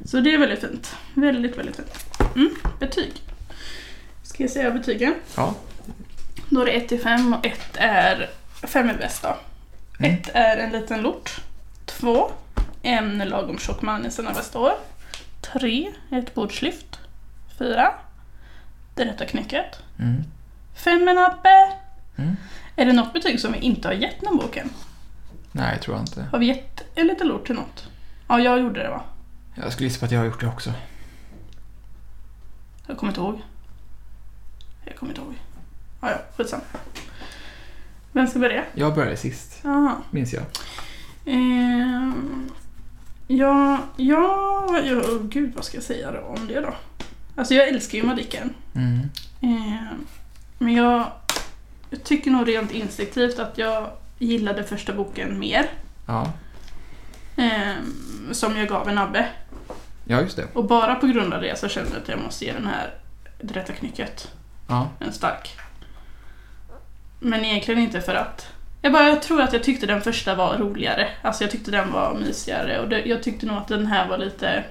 [SPEAKER 1] Så det är väldigt fint. Väldigt, väldigt fint. Mm, betyg. Ska jag säga betygen?
[SPEAKER 2] Ja.
[SPEAKER 1] Då är det 1 till 5 och 1 är... 5 är bäst då.
[SPEAKER 2] Mm.
[SPEAKER 1] 1 är en liten lort. 2. En lagom tjock man i sina bästa år. 3. Ett bordslyft. 4. Det rätta knäcket.
[SPEAKER 2] Mm.
[SPEAKER 1] 5 en appe.
[SPEAKER 2] Mm.
[SPEAKER 1] Är det något betyg som vi inte har gett den boken?
[SPEAKER 2] Nej, tror jag inte.
[SPEAKER 1] Har vi gett en liten lort till något? Ja, jag gjorde det va?
[SPEAKER 2] Jag skulle gissa på att jag har gjort det också.
[SPEAKER 1] Jag kommer inte ihåg. Jag kommer inte ihåg. Ah, Ja, ja, skitsamma. Vem ska börja?
[SPEAKER 2] Jag började sist,
[SPEAKER 1] Jaha.
[SPEAKER 2] minns jag.
[SPEAKER 1] Ehm, ja, ja, ja, oh, gud vad ska jag säga då om det då? Alltså jag älskar ju Madicken.
[SPEAKER 2] Mm.
[SPEAKER 1] Ehm, men jag, jag tycker nog rent instinktivt att jag gillade första boken mer.
[SPEAKER 2] Ja.
[SPEAKER 1] ehm, som jag gav en Abbe.
[SPEAKER 2] ja, just det.
[SPEAKER 1] Och bara på grund av det så kände jag att jag måste ge den här Det rätta knycket
[SPEAKER 2] Ja.
[SPEAKER 1] en stark. Men egentligen inte för att jag, bara, jag tror att jag tyckte den första var roligare. Alltså jag tyckte den var mysigare och det, jag tyckte nog att den här var lite...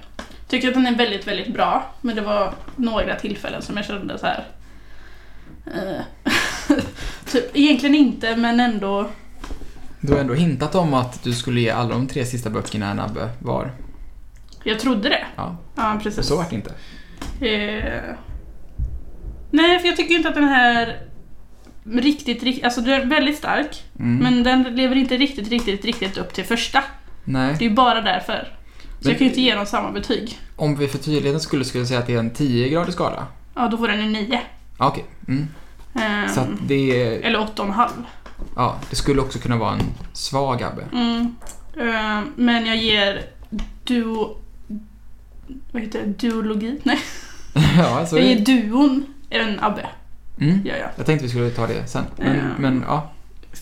[SPEAKER 1] Tycker att den är väldigt, väldigt bra. Men det var några tillfällen som jag kände så här. Eh, typ, egentligen inte men ändå.
[SPEAKER 2] Du har ändå hintat om att du skulle ge alla de tre sista böckerna en Abbe var.
[SPEAKER 1] Jag trodde det.
[SPEAKER 2] Ja,
[SPEAKER 1] Ja,
[SPEAKER 2] och
[SPEAKER 1] precis.
[SPEAKER 2] så vart det inte.
[SPEAKER 1] Eh, nej, för jag tycker inte att den här riktigt, riktigt, alltså den är väldigt stark.
[SPEAKER 2] Mm.
[SPEAKER 1] Men den lever inte riktigt, riktigt, riktigt upp till första.
[SPEAKER 2] Nej.
[SPEAKER 1] Det är ju bara därför. Så
[SPEAKER 2] Men-
[SPEAKER 1] jag kan ju inte ge dem samma betyg.
[SPEAKER 2] Om vi för tydligheten skulle, skulle säga att det är en 10-gradig skala?
[SPEAKER 1] Ja, då får den ju 9.
[SPEAKER 2] Ja, okej. Mm.
[SPEAKER 1] Ehm,
[SPEAKER 2] Så att det, är-
[SPEAKER 1] Eller 8,5.
[SPEAKER 2] ja, det skulle också kunna vara en svag Abbe.
[SPEAKER 1] Mm. Ehm, men jag ger duo... Vad heter det? Duologi? Nej,
[SPEAKER 2] ja, så är
[SPEAKER 1] jag
[SPEAKER 2] det.
[SPEAKER 1] ger duon en Abbe.
[SPEAKER 2] Mm.
[SPEAKER 1] Gör jag.
[SPEAKER 2] Jag tänkte vi skulle ta det sen. Men,
[SPEAKER 1] Ja.
[SPEAKER 2] men ja.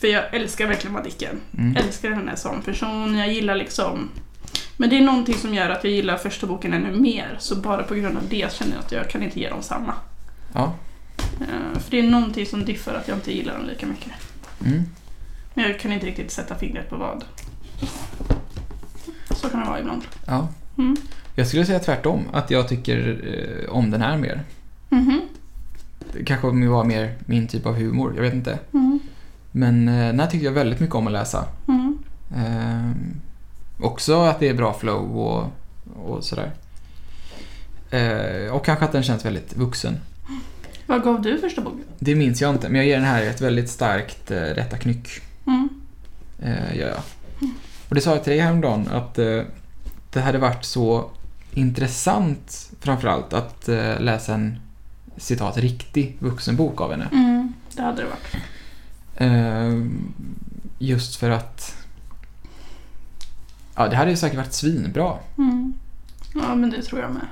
[SPEAKER 1] För jag älskar verkligen Madicken.
[SPEAKER 2] Mm.
[SPEAKER 1] Jag älskar henne som person. Jag gillar liksom... Men det är någonting som gör att jag gillar första boken ännu mer. Så bara på grund av det känner jag att jag kan inte ge dem samma.
[SPEAKER 2] ja.
[SPEAKER 1] Ehm, för det är någonting som diffar att jag inte gillar dem lika mycket.
[SPEAKER 2] Mm.
[SPEAKER 1] Men jag kan inte riktigt sätta fingret på vad. Så kan det vara ibland.
[SPEAKER 2] ja.
[SPEAKER 1] Mm.
[SPEAKER 2] Jag skulle säga tvärtom, att jag tycker eh, om den här mer.
[SPEAKER 1] Mhm.
[SPEAKER 2] Det kanske var mer min typ av humor, jag vet inte.
[SPEAKER 1] Mm.
[SPEAKER 2] Men eh, den här tyckte jag väldigt mycket om att läsa. Eh,
[SPEAKER 1] Mm.
[SPEAKER 2] Ehm, också att det är bra flow och, och sådär. Eh, och kanske att den känns väldigt vuxen.
[SPEAKER 1] Vad gav du första boken?
[SPEAKER 2] Det minns jag inte, men jag ger den här ett väldigt starkt eh, rätta knyck.
[SPEAKER 1] Mm.
[SPEAKER 2] Eh, gör jag. Och det sa jag till dig häromdagen att eh, det hade varit så intressant framförallt att eh, läsa en citat riktig vuxenbok av henne.
[SPEAKER 1] Mm, det hade det varit.
[SPEAKER 2] Eh, just för att Ja, det hade ju säkert varit svinbra.
[SPEAKER 1] Mm. Ja, men det tror jag med.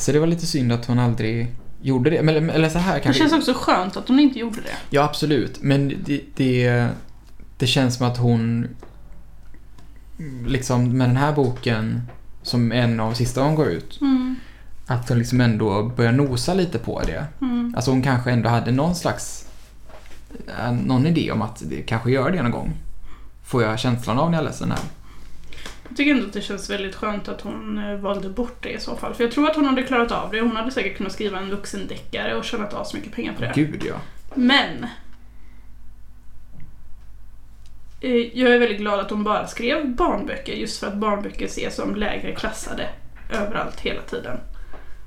[SPEAKER 2] Så det var lite synd att hon aldrig gjorde det. Men, eller så här
[SPEAKER 1] Det
[SPEAKER 2] kanske.
[SPEAKER 1] känns också skönt att hon inte gjorde det.
[SPEAKER 2] Ja, absolut. Men det, det, det känns som att hon liksom med den här boken som en av sista hon går ut,
[SPEAKER 1] Mm,
[SPEAKER 2] att hon liksom ändå börjar nosa lite på det.
[SPEAKER 1] mm,
[SPEAKER 2] Alltså hon kanske ändå hade någon slags eh, någon idé om att det kanske gör det någon gång. Får jag känslan av när jag läser den här.
[SPEAKER 1] Jag tycker ändå att det känns väldigt skönt att hon eh, valde bort det i så fall. För jag tror att hon hade klarat av det. Hon hade säkert kunnat skriva en vuxendeckare och tjänat av så mycket pengar på det.
[SPEAKER 2] Gud ja.
[SPEAKER 1] Men! eh, Jag är väldigt glad att hon bara skrev barnböcker just för att barnböcker ses som lägre klassade överallt hela tiden.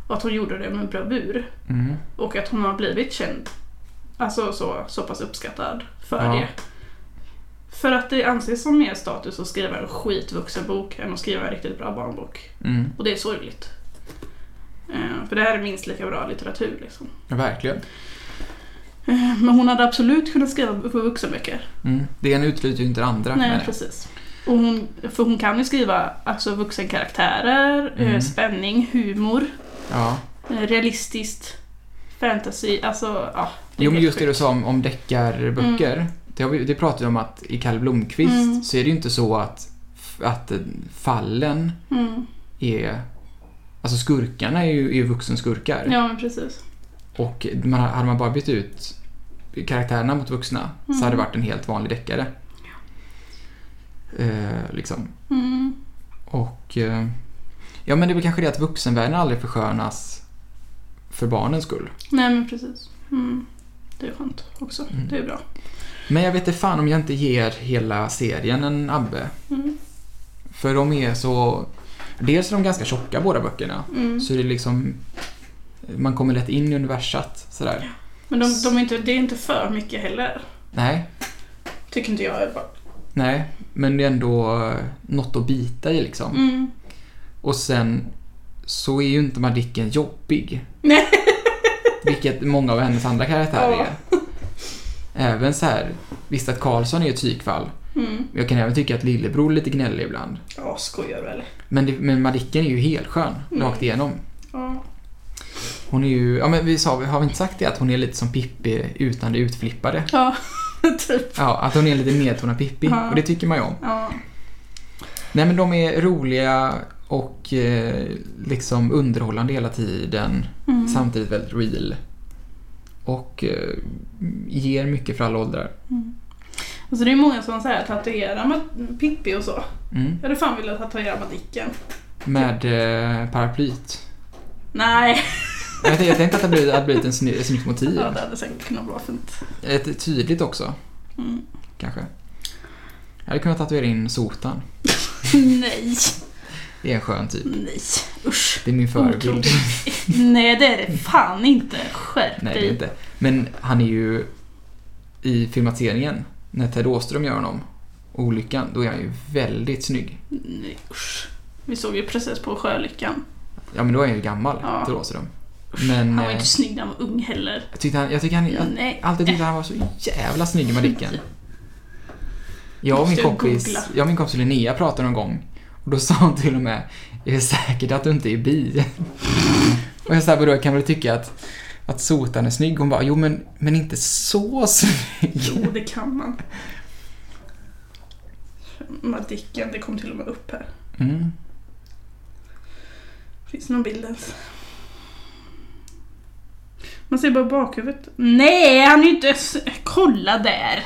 [SPEAKER 1] Och att hon gjorde det med bravur.
[SPEAKER 2] Mm.
[SPEAKER 1] Och att hon har blivit känd. Alltså så, så pass uppskattad för
[SPEAKER 2] Ja.
[SPEAKER 1] det. För att det anses som mer status att skriva en skitvuxen bok än att skriva en riktigt bra barnbok.
[SPEAKER 2] Mm.
[SPEAKER 1] Och det är sorgligt. Eh, För det här är minst lika bra litteratur liksom.
[SPEAKER 2] Ja, verkligen.
[SPEAKER 1] Eh, Men hon hade absolut kunnat skriva v- vuxenböcker.
[SPEAKER 2] Mm. Det ena utesluter ju inte det andra.
[SPEAKER 1] Nej,
[SPEAKER 2] menar jag.
[SPEAKER 1] precis. Och hon, för hon kan ju skriva alltså, vuxenkaraktärer, eh,
[SPEAKER 2] Mm.
[SPEAKER 1] spänning, humor,
[SPEAKER 2] ja.
[SPEAKER 1] eh, realistiskt, fantasy, alltså ja. det är
[SPEAKER 2] Jo, men
[SPEAKER 1] helt
[SPEAKER 2] just det
[SPEAKER 1] sjukt.
[SPEAKER 2] du sa om, om deckarböcker. Det, har vi, det pratade vi om att i Kalle Blomkvist
[SPEAKER 1] Mm.
[SPEAKER 2] så är det ju inte så att, att fallen
[SPEAKER 1] Mm.
[SPEAKER 2] är... Alltså skurkarna är ju är ju vuxenskurkar.
[SPEAKER 1] Ja, men precis.
[SPEAKER 2] Och man, hade man bara bytt ut karaktärerna mot vuxna så
[SPEAKER 1] Mm.
[SPEAKER 2] hade det varit en helt vanlig deckare. Eh, liksom.
[SPEAKER 1] Mm.
[SPEAKER 2] Och... Eh, ja, men det är väl kanske det att vuxenvärlden aldrig förskönas för barnens skull.
[SPEAKER 1] Nej men precis. Mm. Det är skönt också.
[SPEAKER 2] Mm.
[SPEAKER 1] Det är bra.
[SPEAKER 2] Men jag vet inte fan om jag inte ger hela serien en Abbe.
[SPEAKER 1] Mm.
[SPEAKER 2] För de är så... Dels är de ganska tjocka båda böckerna.
[SPEAKER 1] Mm.
[SPEAKER 2] Så det är liksom... Man kommer lätt in i universat sådär.
[SPEAKER 1] Men de, de är inte, det är inte för mycket heller.
[SPEAKER 2] Nej,
[SPEAKER 1] Tycker inte jag. är bra.
[SPEAKER 2] nej. Men det är ändå eh, något att bita i liksom.
[SPEAKER 1] Mm.
[SPEAKER 2] Och sen så är ju inte Madicken jobbig.
[SPEAKER 1] Nej.
[SPEAKER 2] Vilket många av hennes andra karaktärer
[SPEAKER 1] Ja.
[SPEAKER 2] är. Även så här, visst att Karlsson är ett psykfall.
[SPEAKER 1] Mm.
[SPEAKER 2] Jag kan även tycka att Lillebror är lite gnällig ibland.
[SPEAKER 1] Ja, skojar du eller?
[SPEAKER 2] Men, det, men Madicken är ju helt skön
[SPEAKER 1] Mm.
[SPEAKER 2] rakt igenom.
[SPEAKER 1] Ja.
[SPEAKER 2] Hon är ju, ja men vi sa, har vi inte sagt det att hon är lite som Pippi utan det utflippade?
[SPEAKER 1] Ja, typ.
[SPEAKER 2] Ja, att hon är lite nedtonad Pippi
[SPEAKER 1] Ja.
[SPEAKER 2] och det tycker man ju om.
[SPEAKER 1] Ja.
[SPEAKER 2] Nej men de är roliga och eh, liksom underhållande hela tiden.
[SPEAKER 1] Mm.
[SPEAKER 2] Samtidigt väldigt real. Och eh, ger mycket för alla åldrar.
[SPEAKER 1] Alltså det är många som säger tatuera med Pippi och så.
[SPEAKER 2] Mm.
[SPEAKER 1] Jag hade fan velat tatuera Madicken.
[SPEAKER 2] Med eh, paraplyt.
[SPEAKER 1] Nej.
[SPEAKER 2] Jag tänkte, jag tänkte att det hade blivit, hade blivit en sny- ett snyggt motiv.
[SPEAKER 1] Ja, det hade säkert kunnat vara fint.
[SPEAKER 2] Ett tydligt också,
[SPEAKER 1] Mm.
[SPEAKER 2] kanske. Jag hade kunnat tatuera in Sotan.
[SPEAKER 1] Nej.
[SPEAKER 2] Det är en skön typ.
[SPEAKER 1] Nej. Usch.
[SPEAKER 2] Det är min förebild.
[SPEAKER 1] Otroligt. Nej, det är det fan inte. Skärp
[SPEAKER 2] Nej,
[SPEAKER 1] dig.
[SPEAKER 2] det är inte. Men han är ju i filmatiseringen, när Ted Åström gör honom, olyckan, då är han ju väldigt snygg.
[SPEAKER 1] Nej, usch. Vi såg ju precis på Sjölyckan.
[SPEAKER 2] Ja, men då är han ju gammal,
[SPEAKER 1] Ja.
[SPEAKER 2] Ted Åström. Men
[SPEAKER 1] Han var ju
[SPEAKER 2] eh,
[SPEAKER 1] inte snygg när han var ung heller.
[SPEAKER 2] jag tyckte han, jag tycker han, jag
[SPEAKER 1] Nej.
[SPEAKER 2] alltid tyckte han var så jävla snygg i Madicken. Jag och min
[SPEAKER 1] Måste jag
[SPEAKER 2] kompis,
[SPEAKER 1] googla.
[SPEAKER 2] jag och min kompis Linnea pratade någon gång och då sa hon till och med Är det säkert att du inte är bi? och jag sa "Vadå, jag kan väl tycka att, att Sotan är snygg? Hon bara, jo men, men inte så snygg.
[SPEAKER 1] Jo, det kan man. Madicken, det kom till och med upp här.
[SPEAKER 2] Mm.
[SPEAKER 1] Finns det någon bild ens? Man ser bara bakhuvudet. Nej, han är ju inte... s- Kolla där!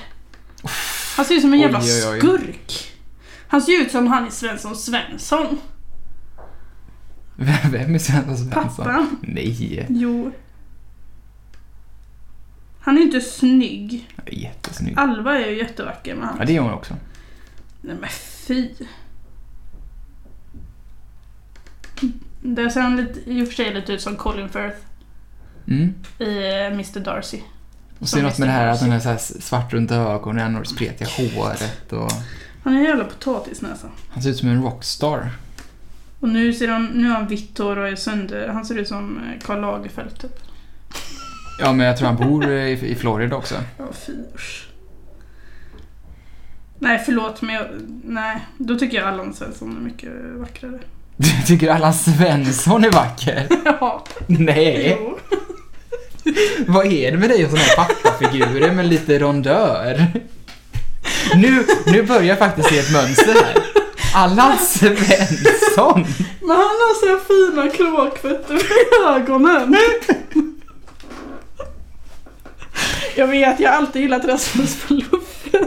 [SPEAKER 1] Han ser ut som en
[SPEAKER 2] Oj,
[SPEAKER 1] jävla
[SPEAKER 2] oj, oj.
[SPEAKER 1] skurk. Han ser ut som han i Svensson Svensson.
[SPEAKER 2] Vem vem är Svensson Svensson?
[SPEAKER 1] Pappan.
[SPEAKER 2] Nej,
[SPEAKER 1] Jo. Han är ju inte snygg.
[SPEAKER 2] jättesnygg.
[SPEAKER 1] Alva är ju jättevacker men han
[SPEAKER 2] Ja, det är hon också.
[SPEAKER 1] Nej men fy. Det ser han lite, i och för sig lite ut som Colin Firth
[SPEAKER 2] Mm.
[SPEAKER 1] i eh, Mr Darcy.
[SPEAKER 2] Och så
[SPEAKER 1] Som
[SPEAKER 2] är det något med det här att
[SPEAKER 1] Mr.
[SPEAKER 2] hon är så här svart runt ögonen och det spretiga håret och...
[SPEAKER 1] Han är en jävla potatisnäsa.
[SPEAKER 2] Han ser ut som en rockstar.
[SPEAKER 1] Och nu, ser han, nu har han vitt hår och är sönder... Han ser ut som eh, Karl Lagerfeld typ.
[SPEAKER 2] Ja, men jag tror han bor i, i Florida också.
[SPEAKER 1] Ja, fy usch. Nej, förlåt men jag, Nej, då tycker jag Allan Svensson är mycket vackrare.
[SPEAKER 2] Du tycker Allan Svensson är vacker?
[SPEAKER 1] ja,
[SPEAKER 2] Nej!
[SPEAKER 1] jo.
[SPEAKER 2] Vad är det med dig och såna här pappafigurer med lite rondör? Nu, nu börjar jag faktiskt se ett mönster här. Allan Svensson!
[SPEAKER 1] Men han har så här fina kråkfötter för ögonen. jag vet, jag har alltid gillat Rasmus på luffen.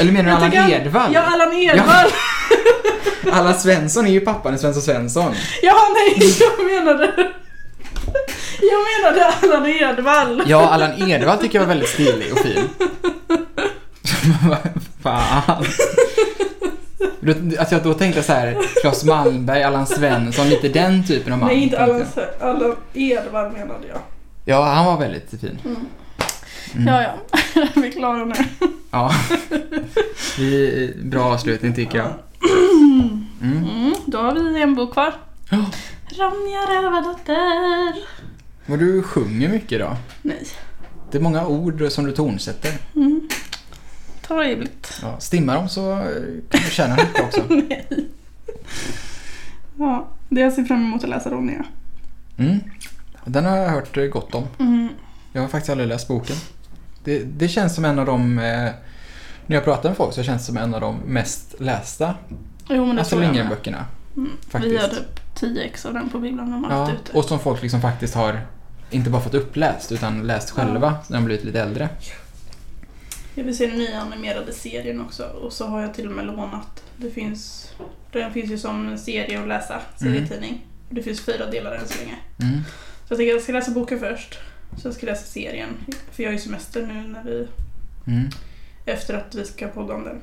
[SPEAKER 2] Eller menar du Allan Edwall?
[SPEAKER 1] Ja, Allan Edwall.
[SPEAKER 2] Allan Svensson är ju pappan i Svensson Svensson.
[SPEAKER 1] Ja, nej, jag menade... Jag menade Allan Edwall.
[SPEAKER 2] Ja, Allan Edwall tycker jag var väldigt stilig och fin. Vad Fan. Då- Att jag då tänkte så här, Claes Malmberg, Allan Svensson, lite den typen av man.
[SPEAKER 1] Nej, inte Allan,
[SPEAKER 2] tänkte
[SPEAKER 1] Allan Edwall menade jag.
[SPEAKER 2] jag. Ja, han var väldigt fin. Mm.
[SPEAKER 1] Ja, ja. Vi är klara nu.
[SPEAKER 2] Ja. Vi, bra avslutning tycker jag. Mm.
[SPEAKER 1] Mm, då har vi en bok kvar.
[SPEAKER 2] Ja.
[SPEAKER 1] Ronja Rövardotter.
[SPEAKER 2] Och du sjunger mycket då.
[SPEAKER 1] Nej, Mm.
[SPEAKER 2] Det är många ord som du tonsätter.
[SPEAKER 1] trevligt.
[SPEAKER 2] Ja, stimmar dem så eh, kan du tjäna lite också.
[SPEAKER 1] Ja, det jag ser fram emot att läsa Ronja.
[SPEAKER 2] Mm. Den har jag hört eh, gott om.
[SPEAKER 1] Mm.
[SPEAKER 2] Jag har faktiskt aldrig läst boken. Det, det känns som en av de... Eh, när jag pratar med folk så känns det som en av de mest lästa
[SPEAKER 1] Jo, men det
[SPEAKER 2] Astrid
[SPEAKER 1] tror jag med.
[SPEAKER 2] Lindgren-böckerna.
[SPEAKER 1] Mm. Vi
[SPEAKER 2] faktiskt.
[SPEAKER 1] har typ 10 ex av den på bibblan när man
[SPEAKER 2] Ja,
[SPEAKER 1] varit ute.
[SPEAKER 2] och som folk liksom faktiskt har inte bara fått uppläst utan läst
[SPEAKER 1] Ja.
[SPEAKER 2] själva när de blivit lite äldre.
[SPEAKER 1] Jag vill se den nya animerade serien också och så har jag till och med lånat. Det finns, den finns ju som en serie att läsa, serietidning. Det finns fyra delar än så länge.
[SPEAKER 2] Mm.
[SPEAKER 1] Så jag tänker att jag ska läsa boken först, sen ska jag läsa serien. För jag är ju semester nu när vi,
[SPEAKER 2] Mm.
[SPEAKER 1] efter att vi ska podda om den.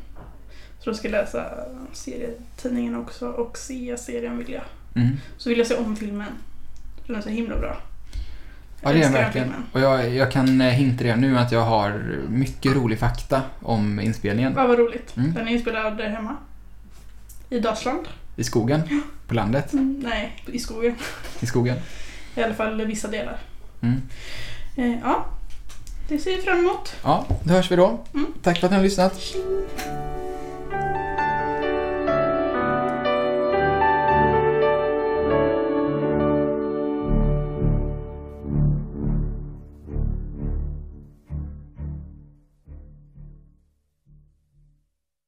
[SPEAKER 1] Så då ska jag läsa serietidningen också och se serien vill jag.
[SPEAKER 2] Mm.
[SPEAKER 1] Så vill jag se om filmen. För Den är så himla bra.
[SPEAKER 2] Ja, det är den
[SPEAKER 1] Älskar den
[SPEAKER 2] verkligen.
[SPEAKER 1] filmen.
[SPEAKER 2] Och jag, jag kan eh, hinta redan nu att jag har mycket rolig fakta om inspelningen.
[SPEAKER 1] Ja, vad roligt.
[SPEAKER 2] Mm.
[SPEAKER 1] Den är inspelad där hemma. I Dalsland.
[SPEAKER 2] I skogen, på landet,
[SPEAKER 1] Mm, nej, i skogen.
[SPEAKER 2] i skogen.
[SPEAKER 1] I alla fall vissa delar.
[SPEAKER 2] Mm.
[SPEAKER 1] Eh, ja, det ser vi fram emot.
[SPEAKER 2] Ja, då hörs vi då.
[SPEAKER 1] Mm.
[SPEAKER 2] Tack för att ni har lyssnat.